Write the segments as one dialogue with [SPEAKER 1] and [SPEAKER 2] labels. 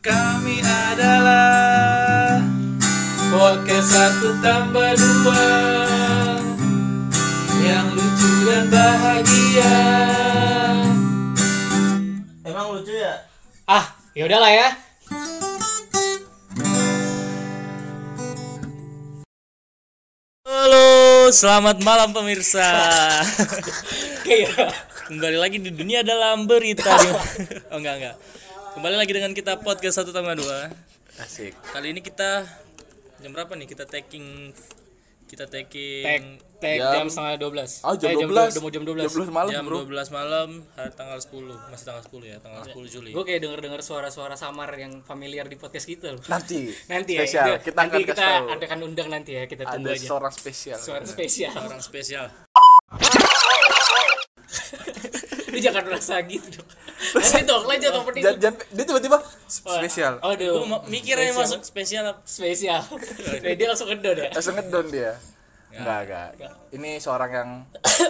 [SPEAKER 1] Kami adalah podcast satu tambah dua yang lucu dan bahagia.
[SPEAKER 2] Emang lucu ya?
[SPEAKER 3] Ah, ya udahlah ya.
[SPEAKER 4] Halo, selamat malam pemirsa.
[SPEAKER 3] Kayak
[SPEAKER 4] Kembali lagi di dunia dalam berita. oh enggak enggak. Kembali lagi dengan kita podcast satu tambah dua.
[SPEAKER 2] Asik.
[SPEAKER 4] Kali ini kita jam berapa nih? Kita taking kita
[SPEAKER 3] tag
[SPEAKER 4] taking
[SPEAKER 3] tag
[SPEAKER 2] Jam-
[SPEAKER 3] jam setengah dua belas.
[SPEAKER 2] Oh, jam
[SPEAKER 3] Eh,
[SPEAKER 2] 12.
[SPEAKER 3] dua- Udah mau jam dua belas.
[SPEAKER 2] 12 malam,
[SPEAKER 4] jam
[SPEAKER 2] Bro.
[SPEAKER 4] 12 malam hari tanggal 10 masih tanggal 10 ya tanggal 10 Juli
[SPEAKER 3] Gue kayak denger dengar suara-suara samar yang familiar di podcast kita loh.
[SPEAKER 2] Nanti
[SPEAKER 3] Nanti ya.
[SPEAKER 2] spesial.
[SPEAKER 3] itu-
[SPEAKER 2] kita
[SPEAKER 3] nanti
[SPEAKER 2] akan
[SPEAKER 3] kita
[SPEAKER 2] kasih tahu.
[SPEAKER 3] adakan undang nanti ya. Kita
[SPEAKER 2] Ada
[SPEAKER 3] tunggu aja.
[SPEAKER 2] seorang spesial.
[SPEAKER 3] Suara spesial.
[SPEAKER 4] orang spesial
[SPEAKER 3] Lu jangan merasa gitu dong. Nanti dong, lanjut dong
[SPEAKER 2] Jan- Jan- dia tiba-tiba spesial.
[SPEAKER 4] gue
[SPEAKER 3] Aduh,
[SPEAKER 4] mikirnya masuk spesial apa?
[SPEAKER 3] spesial. Nah, dia langsung ngedon ya.
[SPEAKER 2] Langsung ngedon dia. Enggak, Ya. enggak. Ini seorang yang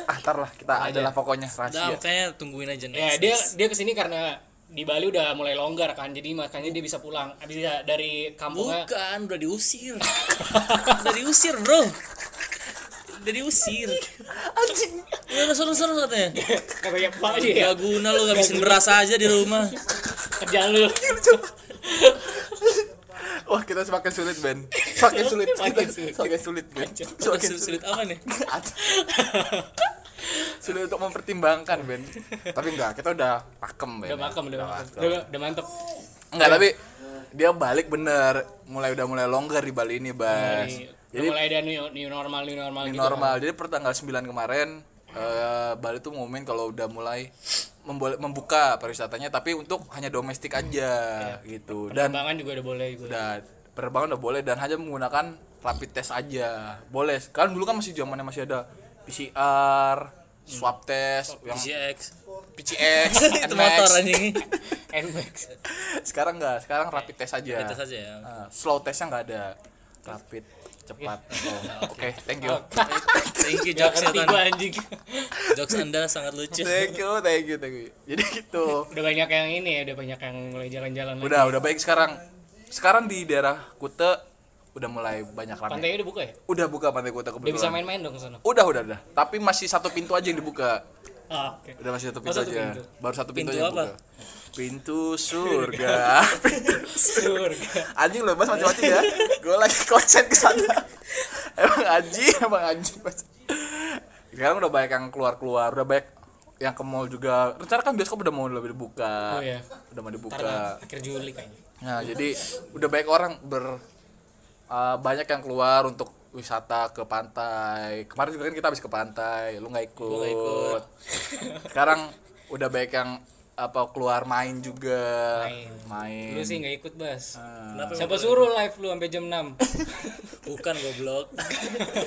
[SPEAKER 2] ah, ntar lah kita adalah pokoknya
[SPEAKER 4] Udah,
[SPEAKER 2] rahasia.
[SPEAKER 4] kayaknya tungguin aja
[SPEAKER 3] Iya. Ya,
[SPEAKER 4] next.
[SPEAKER 3] dia dia kesini karena di Bali udah mulai longgar kan. Jadi makanya dia bisa pulang. Abis dia dari kampungnya
[SPEAKER 4] Bukan, udah diusir. udah diusir, bro. Udah diusir.
[SPEAKER 3] anjing.
[SPEAKER 4] Ya
[SPEAKER 3] Iya.
[SPEAKER 4] udah sono-sono katanya.
[SPEAKER 3] Katanya Pak dia.
[SPEAKER 4] Gak guna lu ngabisin beras aja di rumah.
[SPEAKER 3] kerjaan lu
[SPEAKER 2] Wah, kita semakin sulit, Ben. Semakin sulit. Kita
[SPEAKER 3] Makin sulit.
[SPEAKER 2] semakin sulit, Ben. Semakin
[SPEAKER 4] Sulit,
[SPEAKER 2] sulit.
[SPEAKER 4] sulit apa nih?
[SPEAKER 3] Iya.
[SPEAKER 2] Sulit untuk mempertimbangkan, Ben. Tapi enggak, kita udah pakem, Ben.
[SPEAKER 3] udah makem udah makem
[SPEAKER 2] pakem.
[SPEAKER 3] udah, udah mantep
[SPEAKER 2] Enggak, tapi dia balik bener. Mulai udah mulai longgar di Bali ini, Bas.
[SPEAKER 3] udah mulai ada new, new normal new normal
[SPEAKER 2] Ini
[SPEAKER 3] gitu
[SPEAKER 2] normal. Jadi per tanggal 9 kemarin eh, Bali tuh ngumumin kalau udah mulai membol- membuka pariwisatanya tapi untuk hanya domestik aja gitu. Dan
[SPEAKER 3] Penerbangan juga udah boleh juga
[SPEAKER 2] udah penerbangan udah boleh dan hanya menggunakan rapid test aja. Boleh. Kan dulu kan masih zamannya masih ada PCR, swab test, yang
[SPEAKER 4] GX.
[SPEAKER 2] PCX,
[SPEAKER 4] Itu motor anjing.
[SPEAKER 3] NMAX
[SPEAKER 2] Sekarang enggak, sekarang rapid test aja.
[SPEAKER 4] Kita saja ya.
[SPEAKER 2] Ah, slow testnya nggak ada. Rapid cepat. Oh, Oke, thank you.
[SPEAKER 4] Thank you
[SPEAKER 3] gak
[SPEAKER 4] jokes
[SPEAKER 3] ngerti
[SPEAKER 4] Nathan.
[SPEAKER 3] gua anjing
[SPEAKER 4] Jokes Anda sangat lucu.
[SPEAKER 3] Iya.
[SPEAKER 2] Thank you, thank you, thank you. Jadi gitu.
[SPEAKER 3] udah banyak yang ini ya udah banyak yang mulai jalan-jalan lagi
[SPEAKER 2] Udah, udah baik sekarang. Sekarang di daerah Kute udah mulai banyak ramai.
[SPEAKER 3] pantainya udah buka ya
[SPEAKER 2] Udah buka pantai Kute
[SPEAKER 3] udah bisa
[SPEAKER 2] kebetulan.
[SPEAKER 3] main-main dong sana
[SPEAKER 2] Udah, udah, udah. Tapi masih satu pintu aja yang dibuka.
[SPEAKER 3] ah, oke
[SPEAKER 2] Udah masih satu pintu
[SPEAKER 3] satu
[SPEAKER 2] aja.
[SPEAKER 3] pintu?
[SPEAKER 2] Baru satu pintu,
[SPEAKER 4] Pintu
[SPEAKER 2] aja yang
[SPEAKER 4] apa?
[SPEAKER 2] buka. Pintu surga.
[SPEAKER 3] surga
[SPEAKER 2] anjing lo mas macam-macam ya. Gue lagi konsen ke sana. emang anjing, emang anjing. Mas. Sekarang udah banyak yang keluar-keluar, udah banyak yang ke mall juga. Rencana kan bioskop udah mau lebih dibuka.
[SPEAKER 3] Oh, iya.
[SPEAKER 2] Udah mau
[SPEAKER 3] Ntar
[SPEAKER 2] dibuka.
[SPEAKER 3] lah, akhir Juli kayaknya
[SPEAKER 2] Nah, jadi udah banyak orang ber uh, banyak yang keluar untuk wisata ke pantai. Kemarin juga kan kita habis ke pantai, lu nggak ikut.
[SPEAKER 4] ikut.
[SPEAKER 2] Sekarang udah banyak yang apa keluar main juga.
[SPEAKER 3] Main.
[SPEAKER 2] Main. Nah,
[SPEAKER 3] lu sih nggak ikut bas
[SPEAKER 2] Ah.
[SPEAKER 4] Kenapa
[SPEAKER 3] siapa suruh live lu sampai jam 6
[SPEAKER 4] bukan goblok?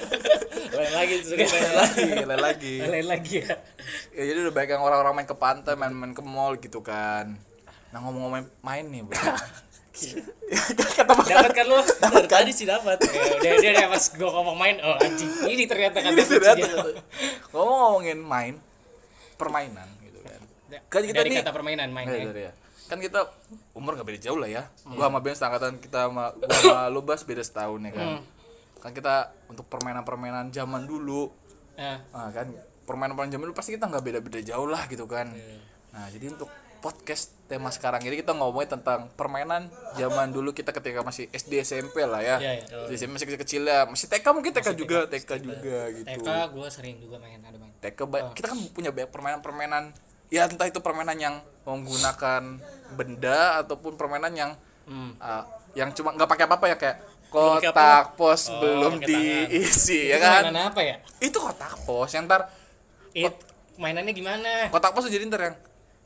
[SPEAKER 4] Lain lagi
[SPEAKER 3] Iya.
[SPEAKER 4] suruh
[SPEAKER 2] Lain lagi, iya, lain lagi.
[SPEAKER 3] lain lagi ya
[SPEAKER 2] Ya, jadi udah banyak yang orang-orang main ke pantai, main-main ke mall gitu kan. Nah, ngomong-ngomong main nih, Bro. Kata
[SPEAKER 3] dapat kan lu
[SPEAKER 4] Bener, Tadi sih dapat.
[SPEAKER 3] Ya udah dia udah pas gua ngomong main oh anjing ini ternyata kan
[SPEAKER 2] ini sudah
[SPEAKER 3] kuncinya.
[SPEAKER 2] ngomong ngomongin main permainan gitu kan kan kita
[SPEAKER 3] dari
[SPEAKER 2] nih
[SPEAKER 3] kata permainan main
[SPEAKER 2] Iya,
[SPEAKER 3] ya. Hmm.
[SPEAKER 2] dari ya. kan kita umur gak beda jauh lah ya gua sama Ben seangkatan kita sama gua sama Lubas beda setahun ya
[SPEAKER 3] Hmm.
[SPEAKER 2] kan kan kita untuk permainan-permainan zaman dulu
[SPEAKER 3] Nah,
[SPEAKER 2] nah, kan permainan-permainan zaman dulu pasti kita nggak beda-beda jauh lah gitu kan nah jadi untuk podcast tema sekarang ini kita ngomongin tentang permainan zaman dulu kita ketika masih SD SMP lah ya,
[SPEAKER 3] Iya, iya.
[SPEAKER 2] SD SMP masih kecil-kecil ya masih TK mungkin TK, juga TK, juga gitu
[SPEAKER 3] TK gua sering juga main ada main.
[SPEAKER 2] TK ba- kita kan punya banyak permainan-permainan ya entah itu permainan yang menggunakan benda ataupun permainan yang uh, yang cuma nggak pakai apa-apa ya kayak kotak pos belum
[SPEAKER 4] pakai
[SPEAKER 2] diisi ya
[SPEAKER 3] Itu
[SPEAKER 2] kan
[SPEAKER 3] Mainan apa ya?
[SPEAKER 2] itu kotak pos yang ntar
[SPEAKER 3] It, mainannya gimana?
[SPEAKER 2] kotak pos tuh jadi ntar yang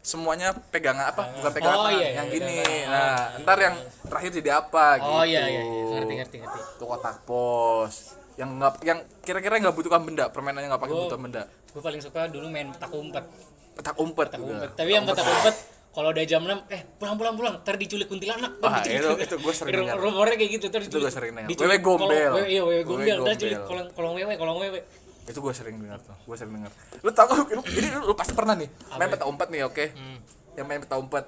[SPEAKER 2] semuanya pegangan apa bukan pegangan
[SPEAKER 3] Oh,
[SPEAKER 2] tangan,
[SPEAKER 3] iya, iya,
[SPEAKER 2] yang
[SPEAKER 3] iya,
[SPEAKER 2] gini nah ntar yang terakhir jadi apa gitu
[SPEAKER 3] Oh iya iya, iya. ngerti ngerti ngerti.
[SPEAKER 2] itu kotak pos yang nggak yang kira-kira nggak butuhkan benda permainannya nggak pakai
[SPEAKER 3] Oh.
[SPEAKER 2] butuh benda
[SPEAKER 3] Gua paling suka dulu main petak umpet.
[SPEAKER 2] petak umpet
[SPEAKER 3] Petak
[SPEAKER 2] juga
[SPEAKER 3] umpet. Tapi yang petak umpet kalau udah jam 6, eh pulang pulang pulang, ntar diculik kuntilanak.
[SPEAKER 2] Wah,
[SPEAKER 3] Ntar diculik
[SPEAKER 2] itu-
[SPEAKER 3] kuntilanak.
[SPEAKER 2] itu gua sering
[SPEAKER 3] Ru-
[SPEAKER 2] dengar.
[SPEAKER 3] Rumornya kayak gitu, terus
[SPEAKER 2] Itu gua sering dengar. Wewe gombel.
[SPEAKER 3] Iya, wewe
[SPEAKER 2] Wewe
[SPEAKER 3] gombel, ntar culik
[SPEAKER 2] gombel.
[SPEAKER 3] kolong kolong wewe, kolong wewe.
[SPEAKER 2] itu gue sering dengar tuh gue sering dengar
[SPEAKER 3] ya? Hmm.
[SPEAKER 2] lu tau gak lu, ini lu, lu pasti pernah nih main peta umpet nih oke yang main peta umpet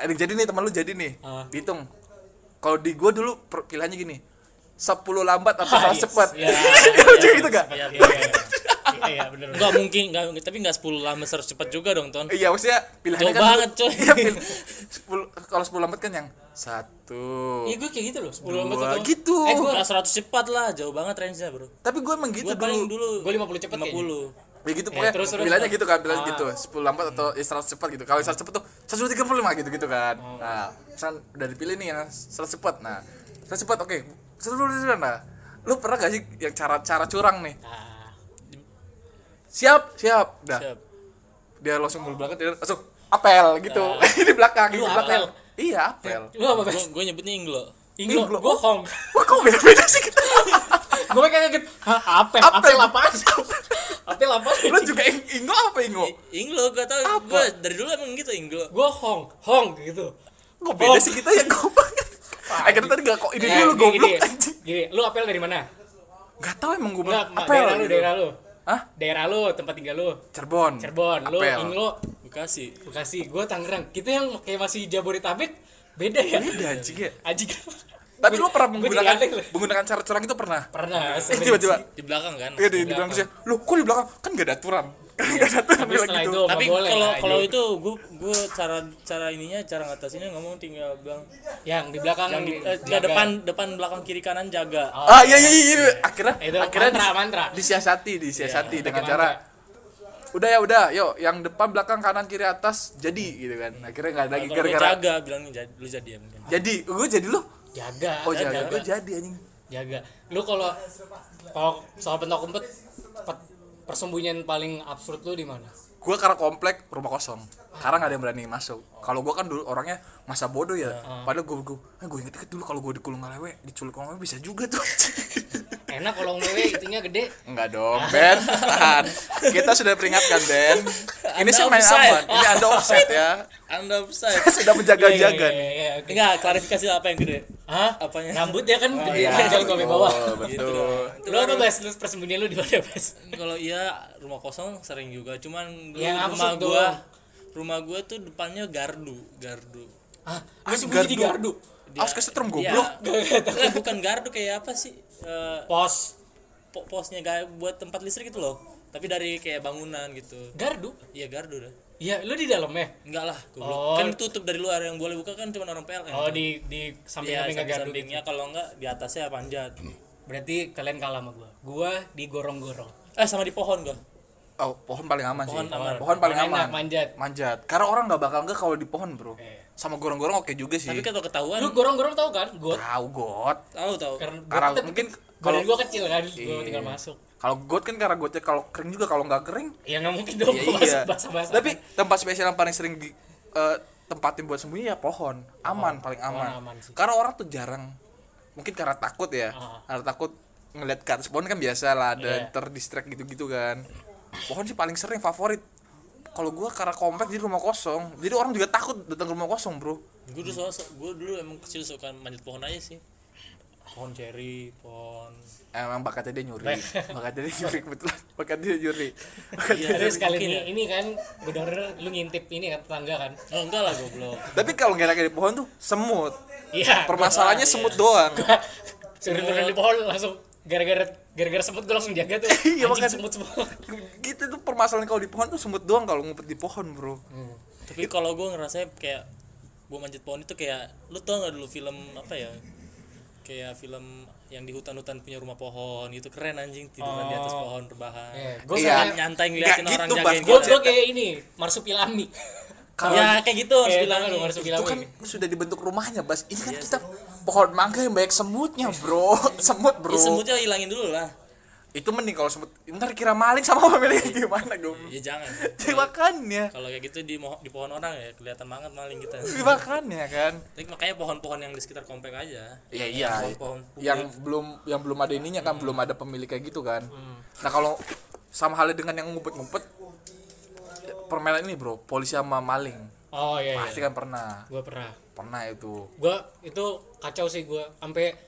[SPEAKER 2] ada jadi nih teman lu jadi nih
[SPEAKER 3] Ah.
[SPEAKER 2] dihitung kalau di gua dulu per- pilihannya gini 10 lambat atau 100 cepat
[SPEAKER 3] Iya.
[SPEAKER 2] Lu juga gitu gak?
[SPEAKER 3] Iya, iya, iya. Iya, iya, bener. bener.
[SPEAKER 4] Enggak mungkin, nggak mungkin. tapi enggak 10 lama harus cepat juga dong, Ton.
[SPEAKER 2] Iya maksudnya pilihannya
[SPEAKER 4] Jauh
[SPEAKER 2] kan
[SPEAKER 4] banget, coy.
[SPEAKER 2] Iya, pil- 10 kalau 10 lambat kan yang satu
[SPEAKER 3] Iya, gue kayak gitu loh. 10 lomba
[SPEAKER 2] dua
[SPEAKER 3] tuh.
[SPEAKER 2] gitu
[SPEAKER 4] Eh, gua nggak 100 cepat lah, jauh banget range-nya, Bro.
[SPEAKER 2] tapi gue emang gitu
[SPEAKER 4] Gua paling
[SPEAKER 2] dulu
[SPEAKER 4] dulu
[SPEAKER 3] Gua 50 cepet kayaknya.
[SPEAKER 4] 50.
[SPEAKER 2] ya gitu pokoknya
[SPEAKER 3] terus, terus,
[SPEAKER 2] pilihannya
[SPEAKER 3] terus.
[SPEAKER 2] gitu kan pilihannya
[SPEAKER 3] Ah.
[SPEAKER 2] gitu 10 lambat atau ya, 100 cepat gitu kalau 100 cepat tuh 135 gitu gitu kan nah misalkan udah dipilih nih yang 100 cepat nah 100 cepat oke 125 nah lu pernah gak sih yang cara-cara curang nih
[SPEAKER 3] Ah.
[SPEAKER 2] siap siap dah
[SPEAKER 4] Siap.
[SPEAKER 2] dia langsung mulu belakang dia langsung apel gitu di belakang di
[SPEAKER 3] Lu
[SPEAKER 2] belakang
[SPEAKER 3] apel?
[SPEAKER 2] iya apel
[SPEAKER 3] Lu apa, Bes?
[SPEAKER 4] Gua gua nyebutnya Inglo.
[SPEAKER 3] Inglo,
[SPEAKER 2] Inglo.
[SPEAKER 3] gua Hong.
[SPEAKER 2] wah kok beda beda sih
[SPEAKER 3] Gua kayak kaget. Hah, apel,
[SPEAKER 2] Apel.
[SPEAKER 3] apel apaan? Apel apaan?
[SPEAKER 2] lu juga ing- ingo apa ingo
[SPEAKER 4] I- Inglo gua tahu
[SPEAKER 2] Apa?
[SPEAKER 4] gua dari dulu emang gitu Inglo.
[SPEAKER 3] Gua Hong, Hong gitu.
[SPEAKER 2] kok beda
[SPEAKER 3] Oh.
[SPEAKER 2] sih kita ya goblok akhirnya tadi gak kok ini
[SPEAKER 3] Eh,
[SPEAKER 2] dulu
[SPEAKER 3] gini,
[SPEAKER 2] goblok
[SPEAKER 3] gini.
[SPEAKER 2] anjing
[SPEAKER 3] Gini, lu apel dari mana?
[SPEAKER 2] gak tau emang gue
[SPEAKER 3] Enggak,
[SPEAKER 2] apel
[SPEAKER 3] daerah lu,
[SPEAKER 2] gitu.
[SPEAKER 3] daerah lu.
[SPEAKER 2] Hah?
[SPEAKER 3] Daerah lu, tempat tinggal lu.
[SPEAKER 2] Cirebon
[SPEAKER 3] Cirebon, lu
[SPEAKER 2] Apel.
[SPEAKER 3] Inglo,
[SPEAKER 4] Bekasi.
[SPEAKER 3] Bekasi, gua Tangerang. Kita yang kayak masih Jabodetabek beda ya.
[SPEAKER 2] Beda, anjing ya.
[SPEAKER 3] Anjing.
[SPEAKER 2] tapi lu pernah
[SPEAKER 3] Gua jadi
[SPEAKER 2] menggunakan
[SPEAKER 3] aneh lu.
[SPEAKER 2] menggunakan cara curang itu pernah
[SPEAKER 3] Pernah.
[SPEAKER 2] eh tiba-tiba
[SPEAKER 4] Di belakang kan.
[SPEAKER 2] iya di di belakang sih lu kok di belakang kan gak ada aturan kan gak ada aturan
[SPEAKER 3] Iya, Tapi
[SPEAKER 2] bilang gitu
[SPEAKER 3] setelah itu
[SPEAKER 4] Tapi
[SPEAKER 3] nggak boleh
[SPEAKER 4] kalau
[SPEAKER 3] lah,
[SPEAKER 4] kalau
[SPEAKER 3] anjing.
[SPEAKER 4] itu gua gua cara cara ininya cara ngatasinnya ngomong tinggal bang
[SPEAKER 3] yang di belakang
[SPEAKER 4] yang di, eh,
[SPEAKER 3] jaga.
[SPEAKER 4] depan depan belakang kiri kanan jaga.
[SPEAKER 2] ah iya iya iya iya. akhirnya
[SPEAKER 3] Itu
[SPEAKER 2] akhirnya
[SPEAKER 3] mantra,
[SPEAKER 2] dis-
[SPEAKER 3] mantra.
[SPEAKER 2] disiasati disiasati
[SPEAKER 3] Iya,
[SPEAKER 2] dengan
[SPEAKER 3] pakai
[SPEAKER 2] cara udah ya udah yuk yang depan belakang kanan kiri atas jadi gitu kan akhirnya nggak ada lagi
[SPEAKER 4] Kalau lu
[SPEAKER 2] gara-gara
[SPEAKER 4] jaga bilangnya "Jadi- lu jadi ya mungkin.
[SPEAKER 2] jadi gue jadi lu
[SPEAKER 3] Jaga.
[SPEAKER 2] oh jaga
[SPEAKER 4] jaga.
[SPEAKER 3] kan?
[SPEAKER 2] gue jadi anjing
[SPEAKER 3] Jaga. Lu kalau kalau soal pentok umpet pe- persembunyian paling absurd lu di mana?
[SPEAKER 2] gue karena komplek rumah kosong karena nggak ada yang berani masuk kalau gue kan dulu orangnya masa bodoh ya padahal gue gue gue inget inget dulu kalau gue dikulung ngalewe diculik orang lewe bisa juga tuh
[SPEAKER 3] Enak kalau ngewe itunya gede.
[SPEAKER 2] Enggak dong Ben tahan kita sudah peringatkan Ben
[SPEAKER 4] Anda
[SPEAKER 2] ini sih main
[SPEAKER 4] offside.
[SPEAKER 2] aman ini anda offset ya
[SPEAKER 4] Anda offside.
[SPEAKER 2] sudah menjaga jaga
[SPEAKER 3] Iya, iya, iya, oke.
[SPEAKER 4] Enggak, klarifikasi apa yang gede?
[SPEAKER 3] Hah?
[SPEAKER 4] Apanya?
[SPEAKER 3] Rambut ya kan gede
[SPEAKER 2] iya.
[SPEAKER 3] panjang sampai bawah.
[SPEAKER 2] Oh,
[SPEAKER 4] Gitu
[SPEAKER 2] betul.
[SPEAKER 4] dong.
[SPEAKER 3] Lu apa, Bas? Lu persembunyian lu di mana, Bas?
[SPEAKER 4] Kalau iya rumah kosong sering juga, cuman dulu
[SPEAKER 3] Yang
[SPEAKER 4] rumah
[SPEAKER 3] absurd
[SPEAKER 4] gua
[SPEAKER 3] dong.
[SPEAKER 4] rumah gua tuh depannya gardu, gardu.
[SPEAKER 3] Ah,
[SPEAKER 2] Ah,
[SPEAKER 3] lu sembunyi di
[SPEAKER 2] gardu.
[SPEAKER 3] gardu.
[SPEAKER 2] Awas kesetrum
[SPEAKER 4] Iya.
[SPEAKER 2] goblok
[SPEAKER 4] Enggak, bukan gardu kayak apa sih? Eh,
[SPEAKER 3] Pos.
[SPEAKER 4] po- posnya kayak buat tempat listrik gitu loh. Tapi dari kayak bangunan gitu.
[SPEAKER 3] Gardu?
[SPEAKER 4] Iya gardu dah.
[SPEAKER 3] Iya, lu di dalam ya?
[SPEAKER 4] Enggak lah, goblok.
[SPEAKER 3] Oh.
[SPEAKER 4] Kan tutup dari luar yang boleh buka kan cuma orang PLN.
[SPEAKER 3] Oh, di di
[SPEAKER 4] Iya,
[SPEAKER 3] samping-samping gardu. gitu.
[SPEAKER 4] samping-sampingnya kalau enggak di atasnya panjat.
[SPEAKER 3] Berarti kalian kalah sama gua. Gua di gorong-gorong.
[SPEAKER 4] Eh sama di pohon gua.
[SPEAKER 2] oh pohon paling aman sih
[SPEAKER 4] Pohon aman.
[SPEAKER 2] pohon paling
[SPEAKER 3] Pohon
[SPEAKER 2] aman
[SPEAKER 3] enak, manjat.
[SPEAKER 2] manjat karena orang nggak bakal nggak kalau di pohon bro
[SPEAKER 3] Iya.
[SPEAKER 2] sama gorong-gorong oke juga sih
[SPEAKER 4] Tapi kan kalau ketahuan,
[SPEAKER 3] Lu gorong-gorong tahu kan? Gua
[SPEAKER 2] tahu god
[SPEAKER 4] tahu tahu.
[SPEAKER 3] karena gua
[SPEAKER 2] karena
[SPEAKER 3] tetep-
[SPEAKER 2] mungkin
[SPEAKER 3] Badan
[SPEAKER 2] kalau Iya.
[SPEAKER 3] gua kecil kan, gua tinggal masuk.
[SPEAKER 2] Kalau got kan karena gotnya kalau kering juga kalau nggak kering.
[SPEAKER 3] Ya nggak mungkin dong
[SPEAKER 2] ya
[SPEAKER 3] gua masuk basah-basah.
[SPEAKER 2] Tapi tempat spesial yang paling sering di, eh, tempatin buat sembunyi ya pohon. Aman paling aman.
[SPEAKER 3] aman sih.
[SPEAKER 2] Karena orang tuh jarang. Mungkin karena takut ya.
[SPEAKER 3] Ah.
[SPEAKER 2] Karena takut ngeliat ke atas pohon kan biasa lah ada
[SPEAKER 3] Iya.
[SPEAKER 2] terdistract gitu-gitu kan. Pohon sih paling sering favorit. Kalau gua karena komplek jadi rumah kosong. Jadi orang juga takut datang ke rumah kosong, Bro.
[SPEAKER 4] gue dulu soal gue dulu emang kecil suka manjat pohon aja sih pohon ceri pohon
[SPEAKER 2] Emang bakatnya dia nyuri. bakatnya dia nyuri kebetulan. Bakatnya dia nyuri. Bakatnya
[SPEAKER 4] Iya.
[SPEAKER 3] Terus kali
[SPEAKER 4] mungkin
[SPEAKER 3] ini, ini kan gua denger lu ngintip ini kan tetangga kan.
[SPEAKER 4] oh enggak lah goblok
[SPEAKER 2] Tapi kalau nggak ada di pohon tuh semut.
[SPEAKER 3] Iya.
[SPEAKER 2] Permasalahannya semut doang.
[SPEAKER 3] Turun-turun di pohon langsung gara-gara gara-gara semut gua langsung jaga tuh.
[SPEAKER 2] Iya,
[SPEAKER 3] Anjing
[SPEAKER 2] makanya.
[SPEAKER 3] semut semua.
[SPEAKER 2] Gitu tuh permasalahan kalau di pohon tuh semut doang kalau ngumpet di pohon, Bro.
[SPEAKER 4] tapi kalau gue ngerasa kayak gue manjat pohon itu kayak lu tau nggak dulu film apa ya kayak film yang di hutan-hutan punya rumah pohon gitu keren anjing tiduran di atas pohon rebahan
[SPEAKER 3] Iya, gua
[SPEAKER 2] Iya.
[SPEAKER 3] sama-
[SPEAKER 4] nyantai ngeliatin
[SPEAKER 2] Nggak
[SPEAKER 4] orang
[SPEAKER 2] gitu,
[SPEAKER 4] jagain
[SPEAKER 2] Bas.
[SPEAKER 3] gua
[SPEAKER 4] kita.
[SPEAKER 3] gua kayak ini, marsupilami.
[SPEAKER 2] Kalau
[SPEAKER 4] ya kayak gitu harus
[SPEAKER 3] Kayak
[SPEAKER 4] bilang
[SPEAKER 3] tau nggak
[SPEAKER 2] itu
[SPEAKER 3] lu
[SPEAKER 2] kan
[SPEAKER 3] marsupilami.
[SPEAKER 2] sudah dibentuk rumahnya, Bas. Ini kan kita pohon mangga yang banyak semutnya, Bro. semut, Bro.
[SPEAKER 4] ya, semutnya hilangin dulu lah
[SPEAKER 2] Itu mending kalau semut. Ntar kira maling sama pemiliknya gimana, Gom?
[SPEAKER 4] ya jangan
[SPEAKER 2] Ya, makannya.
[SPEAKER 4] kalau kayak gitu di, moho- di pohon orang ya kelihatan banget maling kita
[SPEAKER 2] Ya, Makannya kan.
[SPEAKER 4] tapi makanya pohon-pohon yang di sekitar komplek aja
[SPEAKER 2] Ya iya.
[SPEAKER 4] Pohon-pohon publik.
[SPEAKER 2] Yang belum yang belum ada ininya kan belum ada pemilik kayak gitu kan. Nah, kalau sama halnya dengan yang ngumpet-ngumpet ya, permainan ini, Bro. Polisi sama maling.
[SPEAKER 3] Oh iya iya.
[SPEAKER 2] Pasti kan pernah.
[SPEAKER 3] Gua pernah
[SPEAKER 2] Pernah itu.
[SPEAKER 3] gua itu kacau sih gua sampai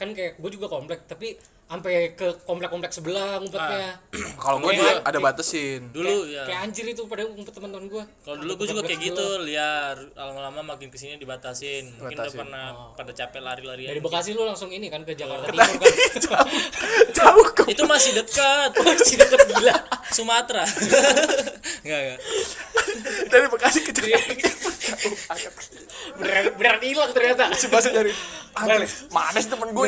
[SPEAKER 3] kan kayak gue juga komplek tapi sampai ke komplek-komplek sebelah ngumpetnya.
[SPEAKER 2] Kalau gue juga ada batasin.
[SPEAKER 4] Iya. dulu
[SPEAKER 3] Kayak-
[SPEAKER 4] Ah, ya
[SPEAKER 3] Kayak anjir itu pada ngumpet teman-teman gua.
[SPEAKER 4] kalau dulu gue juga kayak gitu liar lama-lama makin kesini dibatasin mungkin udah
[SPEAKER 2] Batasin.
[SPEAKER 4] pernah pada capek lari-larian
[SPEAKER 3] Dari Bekasi lu langsung ini kan ke Jakarta Timur kan.
[SPEAKER 2] Jauh kok.
[SPEAKER 4] itu masih dekat masih dekat gila Sumatera enggak enggak
[SPEAKER 2] Dari Bekasi ke Jakarta.
[SPEAKER 4] Iya.
[SPEAKER 3] Beneran beneran hilang ternyata.
[SPEAKER 2] Si Basri dari Aneh, manis temen gue.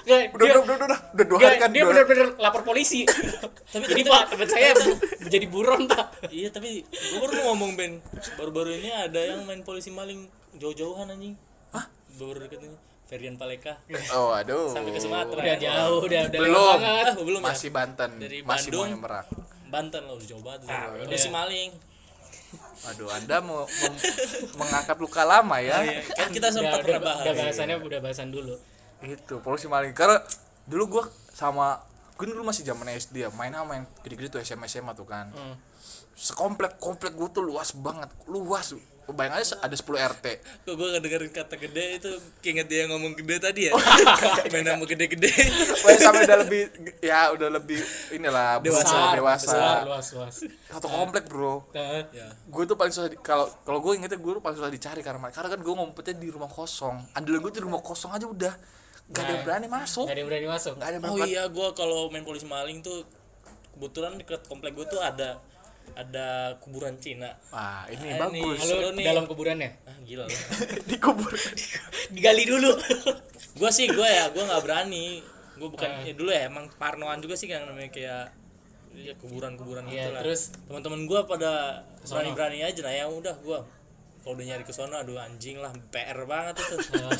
[SPEAKER 3] Nggak,
[SPEAKER 2] Udah,
[SPEAKER 3] dia-
[SPEAKER 2] udah, udah, udah, udah dua
[SPEAKER 3] nggak,
[SPEAKER 2] hari kan.
[SPEAKER 3] dia
[SPEAKER 2] dua-
[SPEAKER 3] bener-bener lapor polisi.
[SPEAKER 4] Tapi-
[SPEAKER 3] Jadi
[SPEAKER 4] tapi-
[SPEAKER 3] Pak, teman saya jadi buron, Pak.
[SPEAKER 4] iya tapi gue baru mau ngomong Ben baru-baru ini ada yang main polisi maling jauh-jauhan anjing hah Iya. baru deket ini Ferdian Paleka
[SPEAKER 2] Oh, aduh.
[SPEAKER 4] sampai ke Sumatera
[SPEAKER 3] Udah jauh, udah udah lama
[SPEAKER 2] Belum.
[SPEAKER 3] banget.
[SPEAKER 4] ah, belum ya?
[SPEAKER 2] Masih Banten,
[SPEAKER 4] Dari
[SPEAKER 2] masih mau
[SPEAKER 4] Bandung.
[SPEAKER 2] yang merak.
[SPEAKER 4] Banten loh udah jauh banget Ah, udah.
[SPEAKER 3] udah.
[SPEAKER 4] polisi maling
[SPEAKER 2] Aduh, Anda mau mem- mengangkat luka lama ya.
[SPEAKER 4] Iya, kan kita
[SPEAKER 3] Udah,
[SPEAKER 4] sempat
[SPEAKER 3] udah,
[SPEAKER 4] pernah bahas
[SPEAKER 3] udah bahasannya udah bahasan dulu.
[SPEAKER 2] Itu polisi maling. Karena dulu gue sama gue dulu masih zaman SD ya, main sama yang gede-gede tuh SMA SMA tuh kan. Sekomplek komplek gue tuh luas banget, luas. Bayang aja ada 10 RT.
[SPEAKER 4] kok gue ngedengerin kata gede itu keinget dia ngomong gede tadi ya main sama gede-gede
[SPEAKER 2] Pokoknya sampai udah lebih ya udah lebih inilah
[SPEAKER 4] Dewasa.
[SPEAKER 2] besar, dewasa.
[SPEAKER 3] besar, luas, luas.
[SPEAKER 2] Satu komplek, Bro.
[SPEAKER 3] Nah,
[SPEAKER 4] ya
[SPEAKER 2] gue tuh paling susah di- kalau kalau gue ingetnya gue tuh paling susah dicari karena karena kan gue ngumpetnya di rumah kosong andalan gue tuh di rumah kosong aja udah gak ada yang
[SPEAKER 3] Nah.
[SPEAKER 2] berani masuk
[SPEAKER 3] Gak ada yang berani masuk.
[SPEAKER 2] gak ada yang
[SPEAKER 4] Oh
[SPEAKER 2] berani
[SPEAKER 4] iya, gua kalau main polisi maling tuh kebetulan dekat komplek gua tuh ada ada kuburan Cina.
[SPEAKER 2] wah ini
[SPEAKER 4] Ah, ini.
[SPEAKER 2] bagus
[SPEAKER 4] Halo. Seru
[SPEAKER 3] Lalu
[SPEAKER 4] nih.
[SPEAKER 3] dalam kuburannya
[SPEAKER 4] Ah gila. lu.
[SPEAKER 2] dikubur
[SPEAKER 3] digali dulu.
[SPEAKER 4] gua sih gua ya, gua nggak berani. Gua bukan
[SPEAKER 3] Ah.
[SPEAKER 4] ya dulu ya emang parnoan juga sih yang namanya kayak ya kuburan-kuburan
[SPEAKER 3] Iya,
[SPEAKER 4] gitu lah.
[SPEAKER 3] terus?
[SPEAKER 4] teman-teman gua pada berani-berani aja nah ya udah gua kalau udah nyari ke sono aduh anjing lah PR banget itu
[SPEAKER 3] Iya.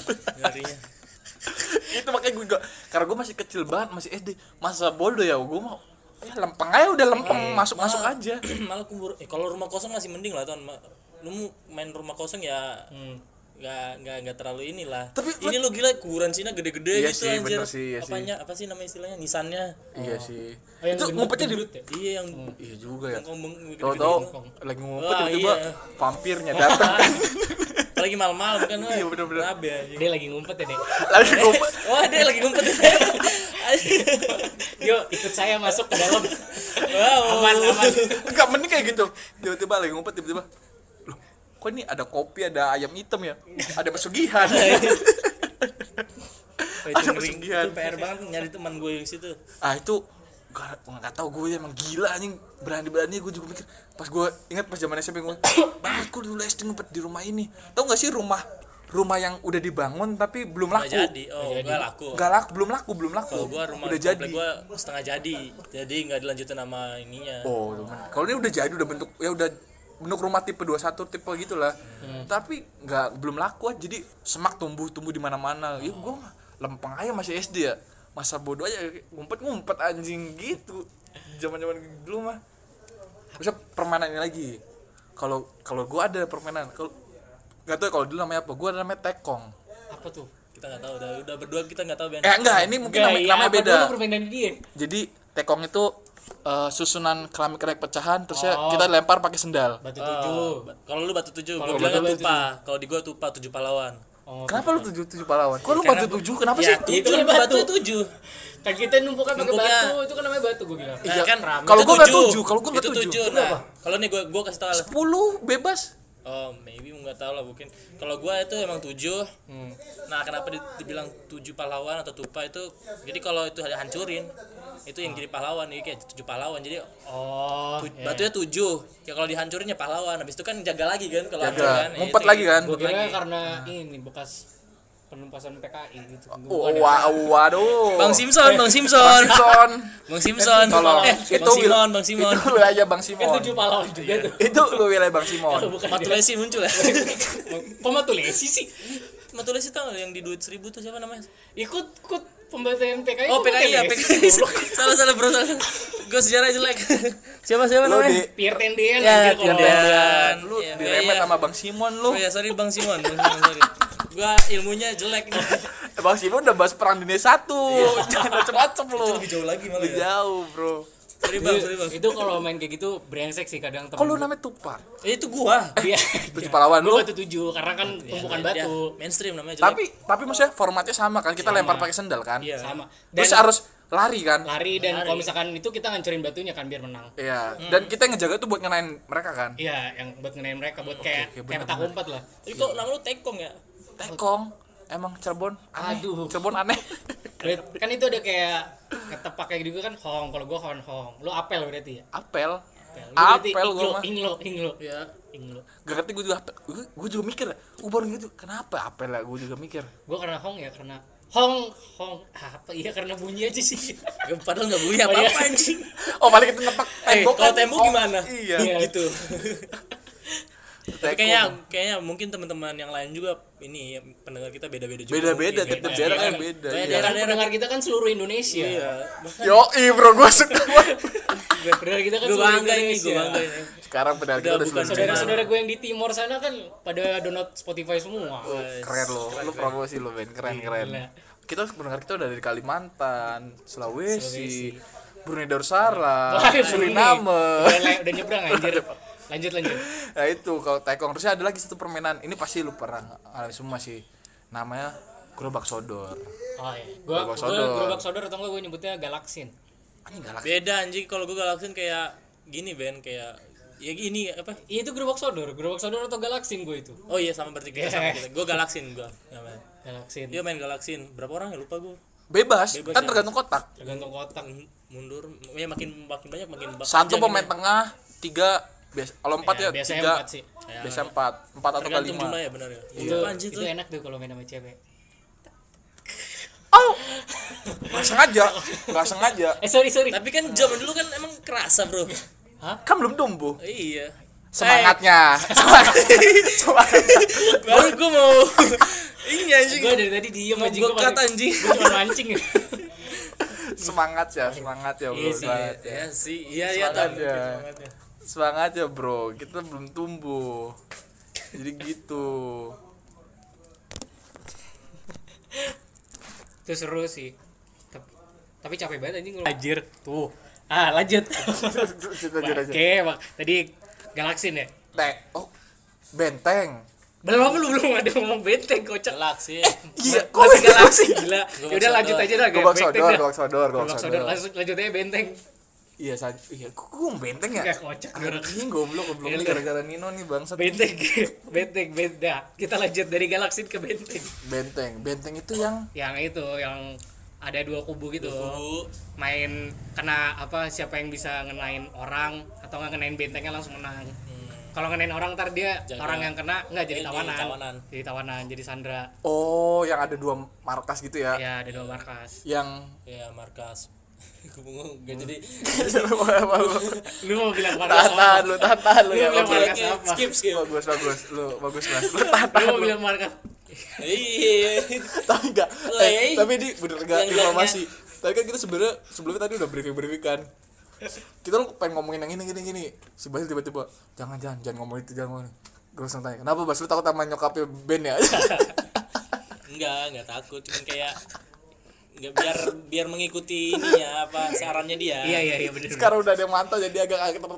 [SPEAKER 4] nyarinya.
[SPEAKER 2] itu makanya gue gak karena gue masih kecil banget masih SD masa bodoh ya gue mau ya lempeng aja udah lempeng masuk masuk aja
[SPEAKER 4] Malah kubur eh kalau rumah kosong masih mending lah tuan. Ma- Lu main rumah kosong ya
[SPEAKER 3] Hmm.
[SPEAKER 4] nggak nggak nggak terlalu inilah
[SPEAKER 2] Tapi
[SPEAKER 4] ini lo gila kuburan Cina gede-gede
[SPEAKER 2] Iya
[SPEAKER 4] gitu
[SPEAKER 2] sih,
[SPEAKER 4] anjir
[SPEAKER 2] bener sih, iya sih.
[SPEAKER 4] apanya apa sih nama istilahnya nisannya
[SPEAKER 2] iya sih
[SPEAKER 3] Oh, yang
[SPEAKER 2] itu
[SPEAKER 3] gendut-
[SPEAKER 2] ngumpetnya di
[SPEAKER 3] gendut ya?
[SPEAKER 4] iya yang
[SPEAKER 2] iya juga ya
[SPEAKER 4] yang ngomong gede-gede gitu.
[SPEAKER 2] tahu-tahu lagi ngumpet
[SPEAKER 4] Wah,
[SPEAKER 2] tiba-tiba
[SPEAKER 4] iya.
[SPEAKER 2] vampirnya datang kan
[SPEAKER 4] apalagi malam-malam kan
[SPEAKER 2] Iya, bener-bener.
[SPEAKER 4] rabe anjing
[SPEAKER 3] Dia lagi ngumpet ya, Dek.
[SPEAKER 2] lagi ngumpet
[SPEAKER 4] wah dia lagi ngumpet
[SPEAKER 3] Yuk, ikut saya masuk ke dalam.
[SPEAKER 4] wow
[SPEAKER 3] Aman, aman.
[SPEAKER 2] Enggak mending kayak gitu. Tiba-tiba lagi ngumpet tiba-tiba. Loh, kok ini ada kopi, ada ayam hitam ya? Ada pesugihan.
[SPEAKER 4] Wah, itu
[SPEAKER 2] Ada
[SPEAKER 4] ngeri.
[SPEAKER 2] pesugihan.
[SPEAKER 4] Itu PR banget nyari teman gue yang situ
[SPEAKER 2] ah itu gak, nggak tahu gue emang gila anjing berani-berani gue juga mikir pas gue ingat pas zaman SMP gue banget gue dulu SD ngumpet di rumah ini tau gak sih rumah rumah yang udah dibangun tapi belum
[SPEAKER 4] nggak
[SPEAKER 2] laku
[SPEAKER 4] jadi oh nggak laku
[SPEAKER 2] Nggak laku belum laku belum laku
[SPEAKER 4] kalau gue rumah
[SPEAKER 2] udah
[SPEAKER 4] komplek
[SPEAKER 2] jadi
[SPEAKER 4] gue setengah jadi jadi nggak dilanjutin sama ininya
[SPEAKER 2] Oh, temen. Kalau ini udah jadi udah bentuk ya udah bentuk rumah tipe 21 tipe gitulah.
[SPEAKER 3] Hmm.
[SPEAKER 2] Tapi nggak belum laku aja. Jadi semak tumbuh-tumbuh di mana-mana. Ya gua mah lempeng aja masih SD ya. Masa bodoh aja ngumpet-ngumpet anjing gitu. Zaman-zaman dulu mah. Bisa permainan ini lagi. Kalau kalau gua ada permainan. Kalau nggak tahu ya kalau dulu namanya apa. Gua ada namanya tekong.
[SPEAKER 3] Apa tuh?
[SPEAKER 4] kita nggak tahu udah udah berdua kita nggak tahu Ben
[SPEAKER 2] Eh enggak, ini mungkin
[SPEAKER 3] Gak,
[SPEAKER 2] namanya,
[SPEAKER 3] ya,
[SPEAKER 2] namanya
[SPEAKER 3] apa
[SPEAKER 2] beda.
[SPEAKER 3] dulu permainan dia.
[SPEAKER 2] Jadi tekong itu eh, susunan keramik keramik pecahan terus ya
[SPEAKER 3] Oh.
[SPEAKER 2] kita lempar pakai sendal.
[SPEAKER 3] Batu tujuh.
[SPEAKER 4] Oh, ba- kalau lu batu tujuh,
[SPEAKER 3] Kalau
[SPEAKER 4] gue
[SPEAKER 3] gua
[SPEAKER 4] bilang kan
[SPEAKER 3] batu
[SPEAKER 4] tupa. Kalau di gua tupa tujuh pahlawan.
[SPEAKER 3] Oh,
[SPEAKER 2] Kenapa lu tujuh tujuh pahlawan? Kok lu batu tujuh? Kenapa
[SPEAKER 4] Ya,
[SPEAKER 2] sih?
[SPEAKER 4] itu
[SPEAKER 3] Itu
[SPEAKER 4] kan
[SPEAKER 3] kan
[SPEAKER 4] batu
[SPEAKER 3] batu.
[SPEAKER 4] tujuh.
[SPEAKER 3] kan kita numpukkan pakai
[SPEAKER 4] Numpuknya.
[SPEAKER 3] batu, itu kan namanya batu gua bilang.
[SPEAKER 4] Nah,
[SPEAKER 2] Iya,
[SPEAKER 4] kan
[SPEAKER 2] kalau
[SPEAKER 4] itu
[SPEAKER 2] gua nggak tujuh, kalau gua nggak
[SPEAKER 4] Itu
[SPEAKER 2] tujuh.
[SPEAKER 4] Nah, kalau nih gua gua kasih tahu lah.
[SPEAKER 2] Sepuluh bebas.
[SPEAKER 4] Oh, maybe nggak tahu lah mungkin. Kalau gua itu emang tujuh.
[SPEAKER 3] Hmm.
[SPEAKER 4] Nah, kenapa di- dibilang tujuh pahlawan atau tupa itu? Jadi kalau itu hancurin, itu yang jadi pahlawan. Jadi kayak tujuh pahlawan. Jadi
[SPEAKER 3] Oh,
[SPEAKER 4] tu-
[SPEAKER 3] iya.
[SPEAKER 4] batunya tujuh. Ya kalau dihancurin ya pahlawan. Habis itu kan jaga lagi kan kalau hancur
[SPEAKER 2] Jaga.
[SPEAKER 4] kan. Ya,
[SPEAKER 2] Ngumpet
[SPEAKER 4] itu
[SPEAKER 2] lagi
[SPEAKER 4] gitu.
[SPEAKER 2] kan?
[SPEAKER 3] Gua kira karena ini bekas penumpasan PKI gitu.
[SPEAKER 2] Oh,
[SPEAKER 3] Bukan ya.
[SPEAKER 2] wa- waduh.
[SPEAKER 4] Bang Simpson, Bang Simpson.
[SPEAKER 2] Eh, Bang Simpson.
[SPEAKER 4] Bang Simpson.
[SPEAKER 2] Tolong.
[SPEAKER 4] Eh, Bang
[SPEAKER 2] wil-
[SPEAKER 4] Simon, Bang Simon.
[SPEAKER 2] Itu lu aja Bang
[SPEAKER 3] Kan
[SPEAKER 2] Simon.
[SPEAKER 3] tujuh pahlawan juga tuh.
[SPEAKER 2] Itu lu wilayah Bang Simon.
[SPEAKER 3] Bukan dia.
[SPEAKER 4] Matulesi muncul ya.
[SPEAKER 3] Kok Matulesi sih?
[SPEAKER 4] Matulesi tau nggak yang di duit seribu tuh siapa namanya?
[SPEAKER 3] Ikut ikut pembantian PKI.
[SPEAKER 4] Oh
[SPEAKER 3] kok
[SPEAKER 4] PKI ya
[SPEAKER 3] Matulesi?
[SPEAKER 4] PKI. salah salah bro. Salah. Gue sejarah jelek. siapa siapa
[SPEAKER 2] Lu di
[SPEAKER 4] namanya?
[SPEAKER 3] Pierre Tendian
[SPEAKER 4] Ya, Pierre
[SPEAKER 3] anjir, kalau-
[SPEAKER 4] Tendian.
[SPEAKER 2] lu
[SPEAKER 4] Iya,
[SPEAKER 2] diremet
[SPEAKER 4] iya.
[SPEAKER 2] sama Bang Simon lu.
[SPEAKER 4] Oh ya sorry Bang Simon. Bang Simon sorry. Gue ilmunya jelek. Itu
[SPEAKER 2] Eh, Bang Iya. Simon udah bahas perang dunia satu. Jangan macem-macem lu.
[SPEAKER 4] Iya. lebih jauh lagi malah
[SPEAKER 2] Lebih
[SPEAKER 4] ya.
[SPEAKER 2] jauh, Bro.
[SPEAKER 4] sorry bang sorry bang
[SPEAKER 3] itu kalau main kayak gitu brengsek sih kadang temen
[SPEAKER 2] Kok lu
[SPEAKER 3] gua.
[SPEAKER 2] namanya Tupar?
[SPEAKER 4] Eh, itu gua
[SPEAKER 3] Iya.
[SPEAKER 2] Baju pahlawan lu? Iya,
[SPEAKER 3] Gua batu tujuh karena kan tumpukan
[SPEAKER 4] Ya, dia
[SPEAKER 3] batu
[SPEAKER 4] mainstream namanya jelek.
[SPEAKER 2] Tapi tapi maksudnya formatnya sama kan? Kita lempar pakai sendal kan?
[SPEAKER 4] Iya.
[SPEAKER 3] sama dan
[SPEAKER 2] Terus harus lari kan?
[SPEAKER 3] lari dan
[SPEAKER 4] Lari.
[SPEAKER 3] kalau misalkan itu kita ngancurin batunya kan biar menang
[SPEAKER 2] Iya. Dan kita yang ngejaga itu buat ngenain mereka kan?
[SPEAKER 3] iya yang buat ngenain mereka buat kayak
[SPEAKER 2] oke,
[SPEAKER 3] kayak
[SPEAKER 2] benar,
[SPEAKER 3] petak
[SPEAKER 2] benar.
[SPEAKER 3] umpet lah
[SPEAKER 4] Tapi kok nama lu tekong ya?
[SPEAKER 2] Tekong. Emang Cirebon aneh.
[SPEAKER 3] Aduh.
[SPEAKER 2] Cirebon aneh.
[SPEAKER 3] Berarti- kan itu ada kayak ketepak kayak gitu kan hong kalau gua hong hong lu apel berarti ya
[SPEAKER 2] Apel.
[SPEAKER 3] apel Lu berarti
[SPEAKER 2] Apel
[SPEAKER 3] inglo,
[SPEAKER 2] gua mah.
[SPEAKER 3] inglo inglo
[SPEAKER 4] Iya.
[SPEAKER 3] inglo
[SPEAKER 2] Gak ngerti gue juga apel. Gue, gue juga mikir. Gue baru gitu. Kenapa apel lah? Gue juga mikir.
[SPEAKER 3] gua karena hong ya karena hong hong apa iya karena bunyi aja sih
[SPEAKER 4] Ya, Padahal nggak bunyi apa apa anjing.
[SPEAKER 2] Oh paling kita ngepak
[SPEAKER 4] Eh,
[SPEAKER 2] tembok
[SPEAKER 4] kalau
[SPEAKER 2] kan.
[SPEAKER 4] tembok
[SPEAKER 2] Oh,
[SPEAKER 4] gimana?
[SPEAKER 2] Iya.
[SPEAKER 4] Duk gitu. Tapi
[SPEAKER 2] Tekong.
[SPEAKER 4] kayaknya kayaknya mungkin teman-teman yang lain juga ini ya, pendengar kita beda-beda juga.
[SPEAKER 2] Beda-beda,
[SPEAKER 4] mungkin.
[SPEAKER 2] tetap
[SPEAKER 4] Beda.
[SPEAKER 2] daerah kan beda.
[SPEAKER 4] Kayak
[SPEAKER 2] iya.
[SPEAKER 3] kan
[SPEAKER 4] daerah-
[SPEAKER 3] pendengar kita kan seluruh Indonesia
[SPEAKER 4] Iya.
[SPEAKER 2] Yo, bro, gue suka banget.
[SPEAKER 3] pendengar kita kan
[SPEAKER 4] Gue
[SPEAKER 3] seluruh
[SPEAKER 4] bangga ini, gue
[SPEAKER 3] Indonesia
[SPEAKER 4] bangga ini.
[SPEAKER 2] Sekarang pedal kita
[SPEAKER 4] Udah
[SPEAKER 2] udah
[SPEAKER 4] bukan
[SPEAKER 2] seluruh
[SPEAKER 4] saudara.
[SPEAKER 2] dunia.
[SPEAKER 3] saudara-saudara gue yang di timor sana kan pada download Spotify semua
[SPEAKER 2] Keren lo, lo promosi lo Ben, keren keren.
[SPEAKER 3] Gila.
[SPEAKER 2] Kita pendengar kita udah dari Kalimantan, Sulawesi, Brunei Darussalam,
[SPEAKER 3] Wah, Brunei.
[SPEAKER 2] Suriname.
[SPEAKER 3] udah, le- udah nyebrang anjir lanjut lanjut
[SPEAKER 2] Nah itu kalau tekong terusnya ada lagi satu permainan. Ini pasti lu pernah alami semua sih. Namanya gerobak sodor.
[SPEAKER 3] oh iya gua
[SPEAKER 2] Gerobak
[SPEAKER 3] gua
[SPEAKER 2] sodor.
[SPEAKER 3] gerobak sodor atau enggak gue nyebutnya galaksin
[SPEAKER 2] Anjing galak.
[SPEAKER 4] Beda anjing kalau gue galaksin kayak gini Ben kayak ya gini apa?
[SPEAKER 3] Iya itu gerobak sodor, gerobak sodor atau galaksin gue itu.
[SPEAKER 4] Oh iya sama berarti kita sama
[SPEAKER 3] Yeah.
[SPEAKER 4] kita. Gue galaksin gue namanya.
[SPEAKER 3] Galaksin.
[SPEAKER 4] Dia main galaksin. Berapa orang ya lupa gue.
[SPEAKER 2] Bebas,
[SPEAKER 4] Bebas ya.
[SPEAKER 2] kan tergantung kotak.
[SPEAKER 3] Tergantung kotak.
[SPEAKER 4] Mundur, ya makin makin banyak makin ba-
[SPEAKER 2] Satu
[SPEAKER 4] panjang
[SPEAKER 2] pemain
[SPEAKER 4] ini.
[SPEAKER 2] tengah, tiga bias, kalau empat ya,
[SPEAKER 3] Ya, biasanya
[SPEAKER 2] tiga,
[SPEAKER 3] empat sih.
[SPEAKER 4] Ya,
[SPEAKER 2] biasa empat, empat atau
[SPEAKER 4] tergantung
[SPEAKER 2] lima.
[SPEAKER 4] jumlah ya benar ya.
[SPEAKER 3] Itu,
[SPEAKER 4] Iya. Anjir
[SPEAKER 3] itu
[SPEAKER 4] tuh.
[SPEAKER 3] enak tuh kalau main sama cewek.
[SPEAKER 2] Oh, nggak sengaja, nggak sengaja.
[SPEAKER 3] Eh sorry sorry.
[SPEAKER 4] Tapi kan zaman dulu kan emang kerasa bro.
[SPEAKER 2] Kan belum tumbuh.
[SPEAKER 4] Iya.
[SPEAKER 2] Semangatnya, semangatnya.
[SPEAKER 4] Eh, baru gue mau ini anjing.
[SPEAKER 3] Gue dari tadi diem
[SPEAKER 4] Mau
[SPEAKER 3] anjing
[SPEAKER 4] gue
[SPEAKER 3] gue
[SPEAKER 4] cut
[SPEAKER 3] paling-
[SPEAKER 4] anjing.
[SPEAKER 3] Gue cuma mancing. ya.
[SPEAKER 2] semangat ya semangat ya bro
[SPEAKER 4] Iya sih.
[SPEAKER 2] semangat ya
[SPEAKER 4] Iya sih. Iya iya
[SPEAKER 2] Semangat
[SPEAKER 4] tam.
[SPEAKER 2] ya.
[SPEAKER 4] Semangatnya.
[SPEAKER 2] semangat ya bro kita belum tumbuh jadi gitu
[SPEAKER 3] itu seru sih. Tapi, tapi capek banget anjing kalau. Anjir. Tuh. Ah lanjut.
[SPEAKER 2] Lanjut, lanjut, lanjut.
[SPEAKER 3] Oke, Bang. Tadi galaksin ya.
[SPEAKER 2] Tek. oh benteng
[SPEAKER 3] Belum lu belum ada ngomong benteng kocak.
[SPEAKER 4] Galaksin.
[SPEAKER 2] iya kok
[SPEAKER 3] Masih
[SPEAKER 2] benteng
[SPEAKER 3] galaksin
[SPEAKER 2] sih
[SPEAKER 3] gila.
[SPEAKER 4] Gerobak
[SPEAKER 3] Yaudah Ya lanjut
[SPEAKER 4] sodor.
[SPEAKER 3] aja dah
[SPEAKER 2] gobak
[SPEAKER 3] benteng
[SPEAKER 2] sodor
[SPEAKER 3] dah.
[SPEAKER 2] gobak sodor
[SPEAKER 3] Gerobak
[SPEAKER 2] gobak
[SPEAKER 3] sodor.
[SPEAKER 2] sodor
[SPEAKER 3] Lanjut lanjut aja benteng.
[SPEAKER 2] iya sa iya kok gua ngomong benteng ya
[SPEAKER 3] Enggak kocak. gerak.
[SPEAKER 2] ini goblok goblok ini gara-gara Nino nih bangsat
[SPEAKER 3] Benteng, benteng, beda. Kita lanjut dari galaksin ke benteng.
[SPEAKER 2] benteng benteng itu yang
[SPEAKER 3] Yang itu, yang ada dua kubu gitu.
[SPEAKER 4] Bu.
[SPEAKER 3] Main kena apa? Siapa yang bisa ngenain orang atau nggak ngenain bentengnya langsung menang. Kalau ngenain orang ntar dia
[SPEAKER 4] Jaga.
[SPEAKER 3] orang yang kena nggak jadi
[SPEAKER 4] Hmm. Jadi
[SPEAKER 3] tawanan.
[SPEAKER 4] tawanan.
[SPEAKER 3] Jadi tawanan, jadi sandra.
[SPEAKER 2] oh yang ada dua markas gitu
[SPEAKER 4] Ah.
[SPEAKER 2] ya
[SPEAKER 3] Ya, ada dua markas.
[SPEAKER 2] yang
[SPEAKER 4] Ya markas. Gue bingung. Gak jadi.
[SPEAKER 3] Lu mau bilang markas
[SPEAKER 2] tahan tahan
[SPEAKER 3] apa?
[SPEAKER 2] lu tahan tahan lu
[SPEAKER 3] Lu
[SPEAKER 2] ya
[SPEAKER 3] bilang
[SPEAKER 4] Oke,
[SPEAKER 2] bagus
[SPEAKER 3] markas
[SPEAKER 4] oke,
[SPEAKER 3] apa?
[SPEAKER 4] Skip skip.
[SPEAKER 2] bagus bagus lu bagus mas lu tahan
[SPEAKER 3] Lu mau bilang markas.
[SPEAKER 4] Iya.
[SPEAKER 2] tapi enggak
[SPEAKER 4] Woi.
[SPEAKER 3] ya,
[SPEAKER 2] eh, tapi ini bener enggak
[SPEAKER 4] Yang
[SPEAKER 2] informasi tapi kan kita sebenarnya sebelumnya tadi udah briefing briefing kan kita lu pengen ngomongin yang ini gini gini si Basil tiba-tiba jangan jangan jangan ngomongin itu jangan ngomongin gue langsung tanya kenapa Bas lu takut sama nyokapnya Ben ya
[SPEAKER 4] Enggak, enggak takut. Cuman kayak enggak biar biar mengikuti ininya apa sarannya dia.
[SPEAKER 3] Iya, iya, iya bener.
[SPEAKER 2] sekarang udah ada yang mantau jadi agak agak ter...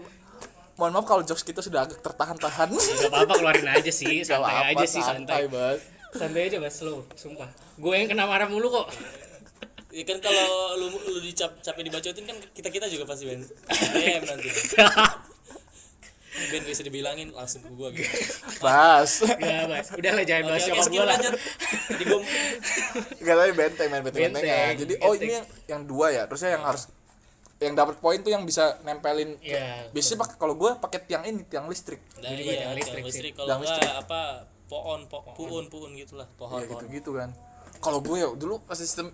[SPEAKER 2] mohon maaf kalau jokes kita sudah agak tertahan-tahan
[SPEAKER 3] Gak apa-apa keluarin aja sih,
[SPEAKER 2] Gak
[SPEAKER 3] Iya, santai
[SPEAKER 2] apa-apa,
[SPEAKER 3] aja sih santai.
[SPEAKER 2] Bas
[SPEAKER 3] Santai aja Bas lo, sumpah. Gue yang kena marah mulu kok.
[SPEAKER 4] Ya kan kalau lu lu dicap capek dibacotin kan kita-kita juga pasti Ben. DM nanti. Ben bisa dibilangin langsung ke gua gitu.
[SPEAKER 2] Bas
[SPEAKER 3] Ya, Bas. Udahlah jangan bahas
[SPEAKER 4] Oke, oke,
[SPEAKER 3] nyokap
[SPEAKER 4] skip
[SPEAKER 3] gue lah.
[SPEAKER 4] lanjut. Jadi gua
[SPEAKER 2] Gak tadi benteng main benteng,
[SPEAKER 3] Benteng,
[SPEAKER 2] benteng ya. Jadi oh ini
[SPEAKER 3] benteng.
[SPEAKER 2] yang yang dua ya. Terusnya yang harus yang dapat poin tuh yang bisa nempelin.
[SPEAKER 3] Iya.
[SPEAKER 2] Biasanya pakai kalau gue pakai tiang ini tiang listrik.
[SPEAKER 4] Nah, iya,
[SPEAKER 3] Jadi gua
[SPEAKER 4] tiang
[SPEAKER 3] tiang
[SPEAKER 4] listrik,
[SPEAKER 3] listrik sih.
[SPEAKER 4] kalau
[SPEAKER 2] Tiang
[SPEAKER 4] enggak
[SPEAKER 2] listrik.
[SPEAKER 4] apa pohon, po- puun, puun gitulah, pohon,
[SPEAKER 2] Ya gitu
[SPEAKER 4] pohon.
[SPEAKER 2] gitu kan. Kalau gue ya dulu pas sistem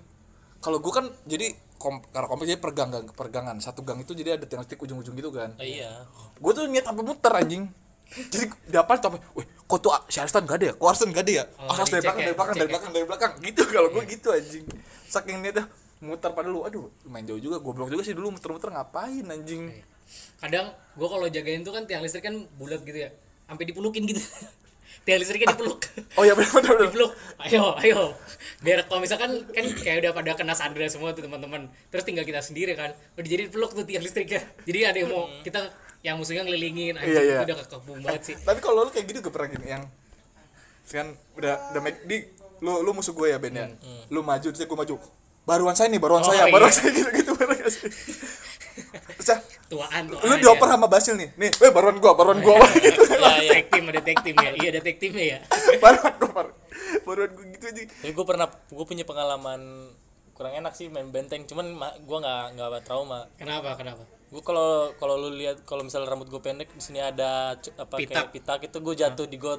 [SPEAKER 2] kalau gue kan jadi kom, karena komplek jadi perganggan pergangan satu gang itu jadi ada tiang listrik ujung-ujung gitu kan.
[SPEAKER 4] Oh, iya.
[SPEAKER 2] Gue tuh niat sampai muter anjing. Jadi dapat sampai, weh, kok tuh si Ariston gak ada ya? Kok Ariston gak ada ya?
[SPEAKER 3] Oh,
[SPEAKER 2] Aras dari
[SPEAKER 3] dicek
[SPEAKER 2] belakang,
[SPEAKER 3] ya,
[SPEAKER 2] dari belakang, dari
[SPEAKER 3] dicek ya. Iya.
[SPEAKER 2] belakang, dari belakang. Gitu kalau gue gitu anjing. Saking niatnya muter pada lu. Aduh, main jauh juga, goblok juga sih dulu muter-muter ngapain anjing.
[SPEAKER 3] Iya. Kadang gue kalau jagain tuh kan tiang listrik kan bulat gitu ya. Sampai dipulukin gitu. tiang listriknya dipeluk
[SPEAKER 2] oh iya benar benar benar.
[SPEAKER 3] dipeluk ayo ayo biar kalau misalkan kan kayak udah pada kena sandra semua tuh teman-teman terus tinggal kita sendiri kan udah jadi dipeluk tuh tiang listriknya jadi ada yang mau kita yang musuhnya ngelilingin anjing
[SPEAKER 2] Iya, iya.
[SPEAKER 3] itu udah kekebun banget sih
[SPEAKER 2] tapi kalau lu kayak gitu gue pernah gini yang kan udah udah make di lu lu musuh gue ya Ben ya lu maju terus gue maju baruan saya nih baruan
[SPEAKER 3] Hmm, Oh,
[SPEAKER 2] saya baruan
[SPEAKER 3] iya.
[SPEAKER 2] saya gitu gitu baruan saya terus ya,
[SPEAKER 3] tuaan tuaan
[SPEAKER 2] lu
[SPEAKER 3] ya.
[SPEAKER 2] dioper sama Basil nih nih weh baruan gua baruan gua gitu
[SPEAKER 4] Iya,
[SPEAKER 3] ada
[SPEAKER 4] iya.
[SPEAKER 3] tag team ada tag team ya iya ada tag teamnya ya
[SPEAKER 2] baruan gua baruan, baruan gua gitu aja
[SPEAKER 4] Tapi gue pernah gue punya pengalaman kurang enak sih main benteng, cuman ma- gua nggak nggak trauma.
[SPEAKER 3] kenapa kenapa
[SPEAKER 4] Gue kalau kalau lu lihat kalau misalnya rambut gue pendek di sini ada cu- apa kayak pitak itu gue jatuh di got.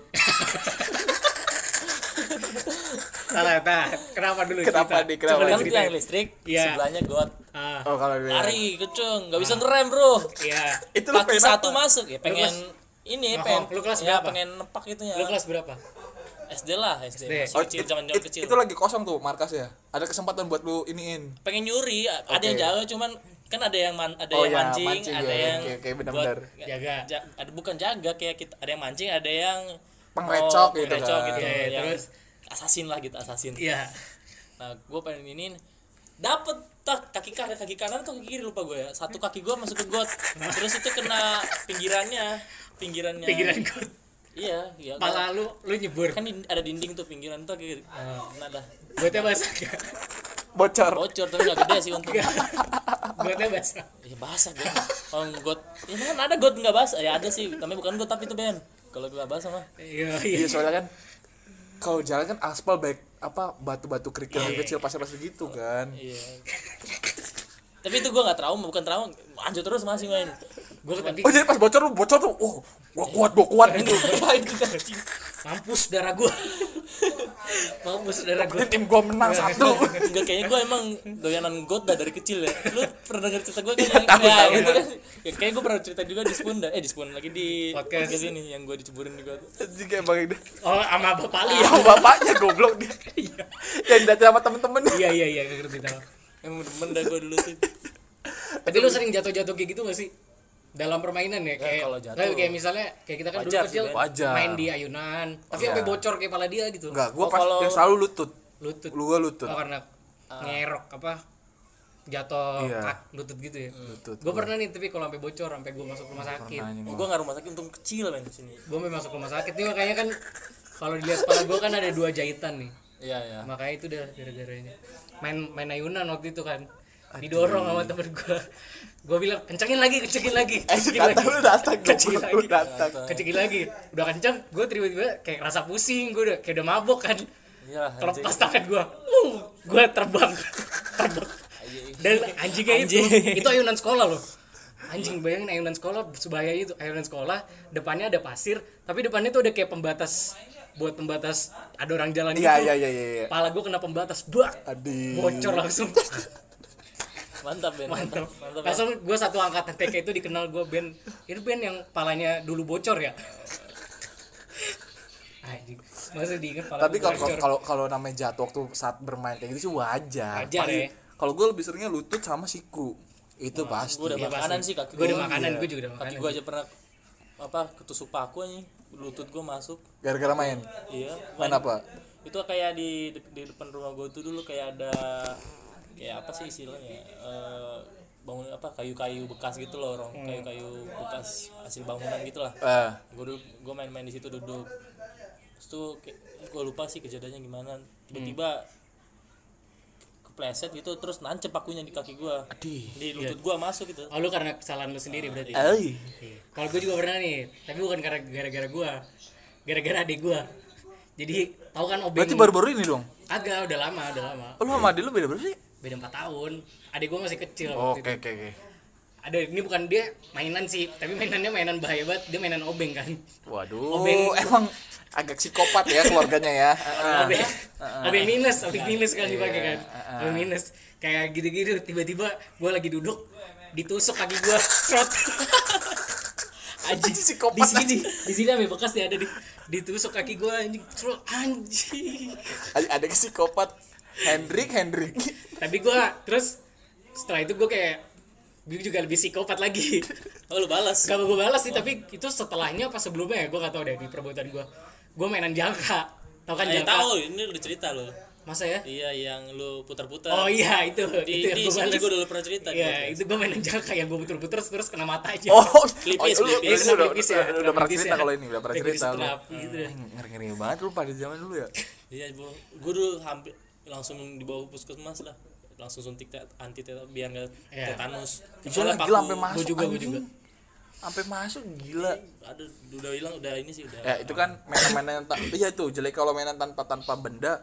[SPEAKER 3] salah nah, kenapa dulu
[SPEAKER 2] Kenapa
[SPEAKER 3] cerita?
[SPEAKER 2] nih, kenapa?
[SPEAKER 3] Coba
[SPEAKER 4] Kan
[SPEAKER 3] lu
[SPEAKER 4] itu
[SPEAKER 3] ceritain.
[SPEAKER 4] yang listrik,
[SPEAKER 3] Iya.
[SPEAKER 4] sebelahnya got.
[SPEAKER 3] ah
[SPEAKER 2] oh kalau dia
[SPEAKER 4] Lari, kecung, nggak bisa ngerem bro.
[SPEAKER 3] iya
[SPEAKER 2] itu lu
[SPEAKER 4] Kaki
[SPEAKER 2] pengen
[SPEAKER 4] satu
[SPEAKER 2] apa?
[SPEAKER 4] masuk ya, pengen
[SPEAKER 3] kelas-
[SPEAKER 4] ini
[SPEAKER 3] Ngehong.
[SPEAKER 4] pengen
[SPEAKER 3] Lu kelas
[SPEAKER 4] ya,
[SPEAKER 3] berapa?
[SPEAKER 4] pengen nepak itu ya.
[SPEAKER 3] lu kelas berapa
[SPEAKER 4] SD lah, SD.
[SPEAKER 3] SD.
[SPEAKER 4] Masih
[SPEAKER 2] Oh,
[SPEAKER 4] kecil,
[SPEAKER 2] it-
[SPEAKER 4] zaman
[SPEAKER 2] it-
[SPEAKER 4] kecil.
[SPEAKER 2] itu lagi kosong tuh markasnya ada kesempatan buat lu iniin
[SPEAKER 4] pengen nyuri, a- ada yang
[SPEAKER 2] Oke.
[SPEAKER 4] jaga cuman kan ada yang man- ada
[SPEAKER 2] Oh,
[SPEAKER 4] yang
[SPEAKER 2] ya,
[SPEAKER 4] mancing,
[SPEAKER 2] mancing,
[SPEAKER 4] ada
[SPEAKER 2] ya.
[SPEAKER 4] yang
[SPEAKER 2] Oke, oke, benar,
[SPEAKER 4] buat-
[SPEAKER 2] benar.
[SPEAKER 3] Jaga.
[SPEAKER 4] ja- ada bukan jaga kayak kita ada yang mancing, ada yang
[SPEAKER 2] Pengrecok gitu
[SPEAKER 4] pengrecok
[SPEAKER 2] kan.
[SPEAKER 4] gitu,
[SPEAKER 3] Iya, iya,
[SPEAKER 4] yang
[SPEAKER 3] terus?
[SPEAKER 4] assassin lah gitu, assassin.
[SPEAKER 3] iya
[SPEAKER 4] Nah, gue pengen ini dapet tak kaki kanan kaki kanan atau kaki kiri lupa gue ya satu kaki gue masuk ke got terus itu kena pinggirannya pinggirannya
[SPEAKER 3] pinggiran gue
[SPEAKER 4] iya iya
[SPEAKER 3] pala lu lu nyebur
[SPEAKER 4] kan di- ada dinding tuh pinggiran tuh kaki
[SPEAKER 2] Ah.
[SPEAKER 4] nah dah
[SPEAKER 3] buatnya basah gak?
[SPEAKER 2] bocor
[SPEAKER 4] bocor tapi gak gede sih untuk
[SPEAKER 3] buatnya basah
[SPEAKER 4] ya basah gue oh got ya kan ada got nggak basah ya ada sih tapi bukan got tapi itu ben kalau gue basah mah
[SPEAKER 3] iya
[SPEAKER 2] iya
[SPEAKER 3] iya
[SPEAKER 2] soalnya kan kalau jalan kan aspal baik apa batu-batu kerikil kecil pasir-pasir gitu kan
[SPEAKER 4] iya tapi itu gue nggak trauma bukan trauma lanjut terus masih main
[SPEAKER 3] gue tapi
[SPEAKER 2] oh jadi pas bocor lu bocor tuh oh gua kuat gua kuat gitu
[SPEAKER 4] Main juga, anjing.
[SPEAKER 3] mampus darah gue mampus darah gue
[SPEAKER 2] Ini tim gua menang satu
[SPEAKER 4] Enggak kayaknya gue emang doyanan got dah dari kecil ya. Lu pernah denger cerita gue kan?
[SPEAKER 2] tahu,
[SPEAKER 4] ya,
[SPEAKER 2] tahu,
[SPEAKER 4] gitu
[SPEAKER 2] tahu.
[SPEAKER 4] kan. Ya, kayaknya gue pernah cerita juga di Spoon dah. Eh di Spoon lagi di
[SPEAKER 3] Podcast.
[SPEAKER 4] podcast, ini yang gue diceburin di got.
[SPEAKER 2] jika emang ini
[SPEAKER 3] oh sama bapak lu ya
[SPEAKER 2] ya bapaknya goblok dia
[SPEAKER 3] Iya.
[SPEAKER 2] yang datang sama temen-temen dia.
[SPEAKER 3] iya iya iya gak ngerti tau
[SPEAKER 4] Emang demen dah gue dulu tuh.
[SPEAKER 3] tapi lu sering jatuh-jatuh kayak gitu gak sih dalam permainan ya kayak
[SPEAKER 4] kalau jatuh.
[SPEAKER 3] nggak, kayak misalnya kayak kita kan
[SPEAKER 4] Wajar
[SPEAKER 3] dulu
[SPEAKER 4] sih,
[SPEAKER 3] kecil
[SPEAKER 4] Ben.
[SPEAKER 2] Wajar.
[SPEAKER 3] main di ayunan tapi
[SPEAKER 2] Iya.
[SPEAKER 3] sampai bocor kayak pala dia gitu
[SPEAKER 2] enggak gua
[SPEAKER 4] Oh,
[SPEAKER 2] pas
[SPEAKER 4] kalau-
[SPEAKER 2] yang selalu lutut
[SPEAKER 3] lutut
[SPEAKER 2] lu gua lutut
[SPEAKER 3] Oh, karena
[SPEAKER 4] Ah.
[SPEAKER 3] ngerok apa jatuh
[SPEAKER 2] Iya.
[SPEAKER 3] kak- lutut gitu ya
[SPEAKER 4] Hmm.
[SPEAKER 2] Lutut.
[SPEAKER 3] gue pernah nih tapi kalau sampai bocor sampai gue masuk rumah sakit
[SPEAKER 2] Anjing,
[SPEAKER 4] Oh, gue nggak rumah sakit untung kecil main di sini.
[SPEAKER 3] gue memang masuk rumah sakit nih makanya kan kalau dilihat kepala gue kan ada dua jahitan nih
[SPEAKER 4] Iya
[SPEAKER 2] Ah.
[SPEAKER 4] iya.
[SPEAKER 3] makanya itu udah gara-garanya main main ayunan waktu itu kan didorong sama temen gue gue bilang kencengin lagi kencengin lagi
[SPEAKER 2] Eh,
[SPEAKER 3] kencengin
[SPEAKER 2] datang lu datang
[SPEAKER 3] kencengin
[SPEAKER 2] goblok lu
[SPEAKER 3] lagi
[SPEAKER 2] datang
[SPEAKER 3] kencengin lagi udah kenceng gue tiba-tiba kayak rasa pusing gue udah kayak udah mabok kan
[SPEAKER 4] Iya lah. anjing.
[SPEAKER 3] lepas tangan gue uh, gue terbang terbang
[SPEAKER 2] Iya,
[SPEAKER 3] dan anjingnya
[SPEAKER 4] Anjing.
[SPEAKER 3] itu itu ayunan sekolah loh anjing bayangin ayunan sekolah sebahaya itu ayunan sekolah depannya ada pasir tapi depannya tuh ada kayak pembatas buat pembatas ada orang jalan
[SPEAKER 2] iya iya
[SPEAKER 3] gitu
[SPEAKER 2] iya iya iya.
[SPEAKER 3] Pala gue kena pembatas, bak,
[SPEAKER 2] Aduh.
[SPEAKER 3] bocor langsung.
[SPEAKER 4] Mantap Ben.
[SPEAKER 3] Mantap.
[SPEAKER 4] Mantap. Ben.
[SPEAKER 3] Langsung gue satu angkatan TK itu dikenal gue band, itu band yang palanya dulu bocor ya. Anjing, masa diinget pala
[SPEAKER 2] tapi
[SPEAKER 3] gua
[SPEAKER 2] kalau
[SPEAKER 3] bocor.
[SPEAKER 2] kalau kalau namanya jatuh waktu saat bermain kayak gitu sih wajar
[SPEAKER 3] Wajar
[SPEAKER 2] Paling-
[SPEAKER 3] ya.
[SPEAKER 2] kalau gue lebih seringnya lutut sama siku itu pasti
[SPEAKER 4] Gue udah
[SPEAKER 3] Iya,
[SPEAKER 4] makanan
[SPEAKER 3] pasti.
[SPEAKER 4] sih kaki
[SPEAKER 3] Gua ada
[SPEAKER 4] gua.
[SPEAKER 3] makanan,
[SPEAKER 4] Iya.
[SPEAKER 3] gua juga ada
[SPEAKER 4] Kaki
[SPEAKER 3] makanan.
[SPEAKER 4] gue aja pernah apa ketusuk paku anjing. Lutut gue masuk.
[SPEAKER 2] gara-gara main
[SPEAKER 4] Iya.
[SPEAKER 2] main apa
[SPEAKER 4] itu kayak di di depan rumah gue tuh dulu kayak ada kayak apa sih istilahnya Eh, bangun apa kayu-kayu bekas gitu loh
[SPEAKER 3] Hmm.
[SPEAKER 4] orang kayu-kayu bekas hasil bangunan gitu lah
[SPEAKER 2] eh
[SPEAKER 4] gue dulu gue main-main di situ duduk terus tuh gue lupa sih kejadiannya gimana tiba-tiba
[SPEAKER 3] Hmm.
[SPEAKER 4] kepleset gitu terus nancep pakunya di kaki gue
[SPEAKER 2] Adih.
[SPEAKER 4] di lutut gue masuk gitu
[SPEAKER 3] Oh lu karena kesalahan lu sendiri berarti.
[SPEAKER 2] Ay.
[SPEAKER 3] Iya. Kalau gue juga pernah nih, tapi bukan karena gara-gara gue, gara-gara adik gue. Jadi tahu kan obeng?
[SPEAKER 2] berarti baru-baru ini dong
[SPEAKER 3] Agak udah lama, udah lama.
[SPEAKER 2] Oh, lu sama adik lu beda berapa sih?
[SPEAKER 3] Beda 4 tahun. Adik gue masih kecil waktu
[SPEAKER 2] Oh, Oke, oke, oke.
[SPEAKER 3] ada ini bukan dia mainan sih tapi mainannya mainan bahaya banget dia mainan obeng kan
[SPEAKER 2] Waduh,
[SPEAKER 3] Obeng.
[SPEAKER 2] emang agak psikopat ya keluarganya ya. Heeh.
[SPEAKER 3] obeng
[SPEAKER 2] Ah,
[SPEAKER 3] obeng minus obeng minus kan
[SPEAKER 2] Iya,
[SPEAKER 3] dipakai kan obeng minus kayak gitu-gitu tiba-tiba gue lagi duduk ditusuk kaki gue trot anjing
[SPEAKER 2] Anjing, psikopat
[SPEAKER 3] di sini di sini sampai bekas nih ada di ditusuk kaki gue anjing trot anjing
[SPEAKER 2] Ad- Ada psikopat Hendrik, Hendrik.
[SPEAKER 3] tapi gue terus setelah itu gue kayak gue juga lebih psikopat lagi
[SPEAKER 4] oh lu balas
[SPEAKER 3] Gak gue balas sih, tapi itu setelahnya apa sebelumnya ya, gue gak tau deh di perbuatan gue gue mainan jangka tau kan
[SPEAKER 4] Eh,
[SPEAKER 3] jangka
[SPEAKER 4] tahu ini udah cerita lo.
[SPEAKER 3] masa ya
[SPEAKER 4] Iya, yang lu putar-putar.
[SPEAKER 3] oh iya itu
[SPEAKER 4] di,
[SPEAKER 3] itu yang
[SPEAKER 4] di
[SPEAKER 3] gue
[SPEAKER 4] sini
[SPEAKER 3] bales.
[SPEAKER 4] juga dulu pernah cerita. di
[SPEAKER 3] Iya,
[SPEAKER 4] podcast.
[SPEAKER 3] itu gue mainan jangka yang gue puter-puter terus kena mata aja.
[SPEAKER 2] Oh, oh,
[SPEAKER 4] Pelipis,
[SPEAKER 2] lu- lu
[SPEAKER 4] pelipis.
[SPEAKER 2] udah- udah,
[SPEAKER 3] Pelipis ya,
[SPEAKER 2] udah, udah pernah
[SPEAKER 3] pelipis
[SPEAKER 2] cerita
[SPEAKER 3] ya.
[SPEAKER 2] kalau ini, udah pernah
[SPEAKER 3] Pelipis
[SPEAKER 2] cerita lu. Eh,
[SPEAKER 3] strap,
[SPEAKER 4] Hmm.
[SPEAKER 3] gitu deh.
[SPEAKER 2] Ngeri-ngeri banget lu pada zaman dulu ya.
[SPEAKER 4] Iya, Bu. Gua dulu hampir langsung dibawa ke puskesmas lah. Langsung suntik te- anti tet biar enggak
[SPEAKER 3] Iya.
[SPEAKER 4] tetanus.
[SPEAKER 2] Iya
[SPEAKER 4] Soalnya
[SPEAKER 2] lah, gila
[SPEAKER 4] paku-
[SPEAKER 2] sampai masuk.
[SPEAKER 3] juga, gua
[SPEAKER 2] anjing.
[SPEAKER 3] juga.
[SPEAKER 2] Sampai masuk gila.
[SPEAKER 4] Ada udah hilang udah ini sih
[SPEAKER 3] Iya.
[SPEAKER 4] udah.
[SPEAKER 2] Ya itu kan mainan-mainan tak iya tuh jelek kalau mainan tanpa tanpa benda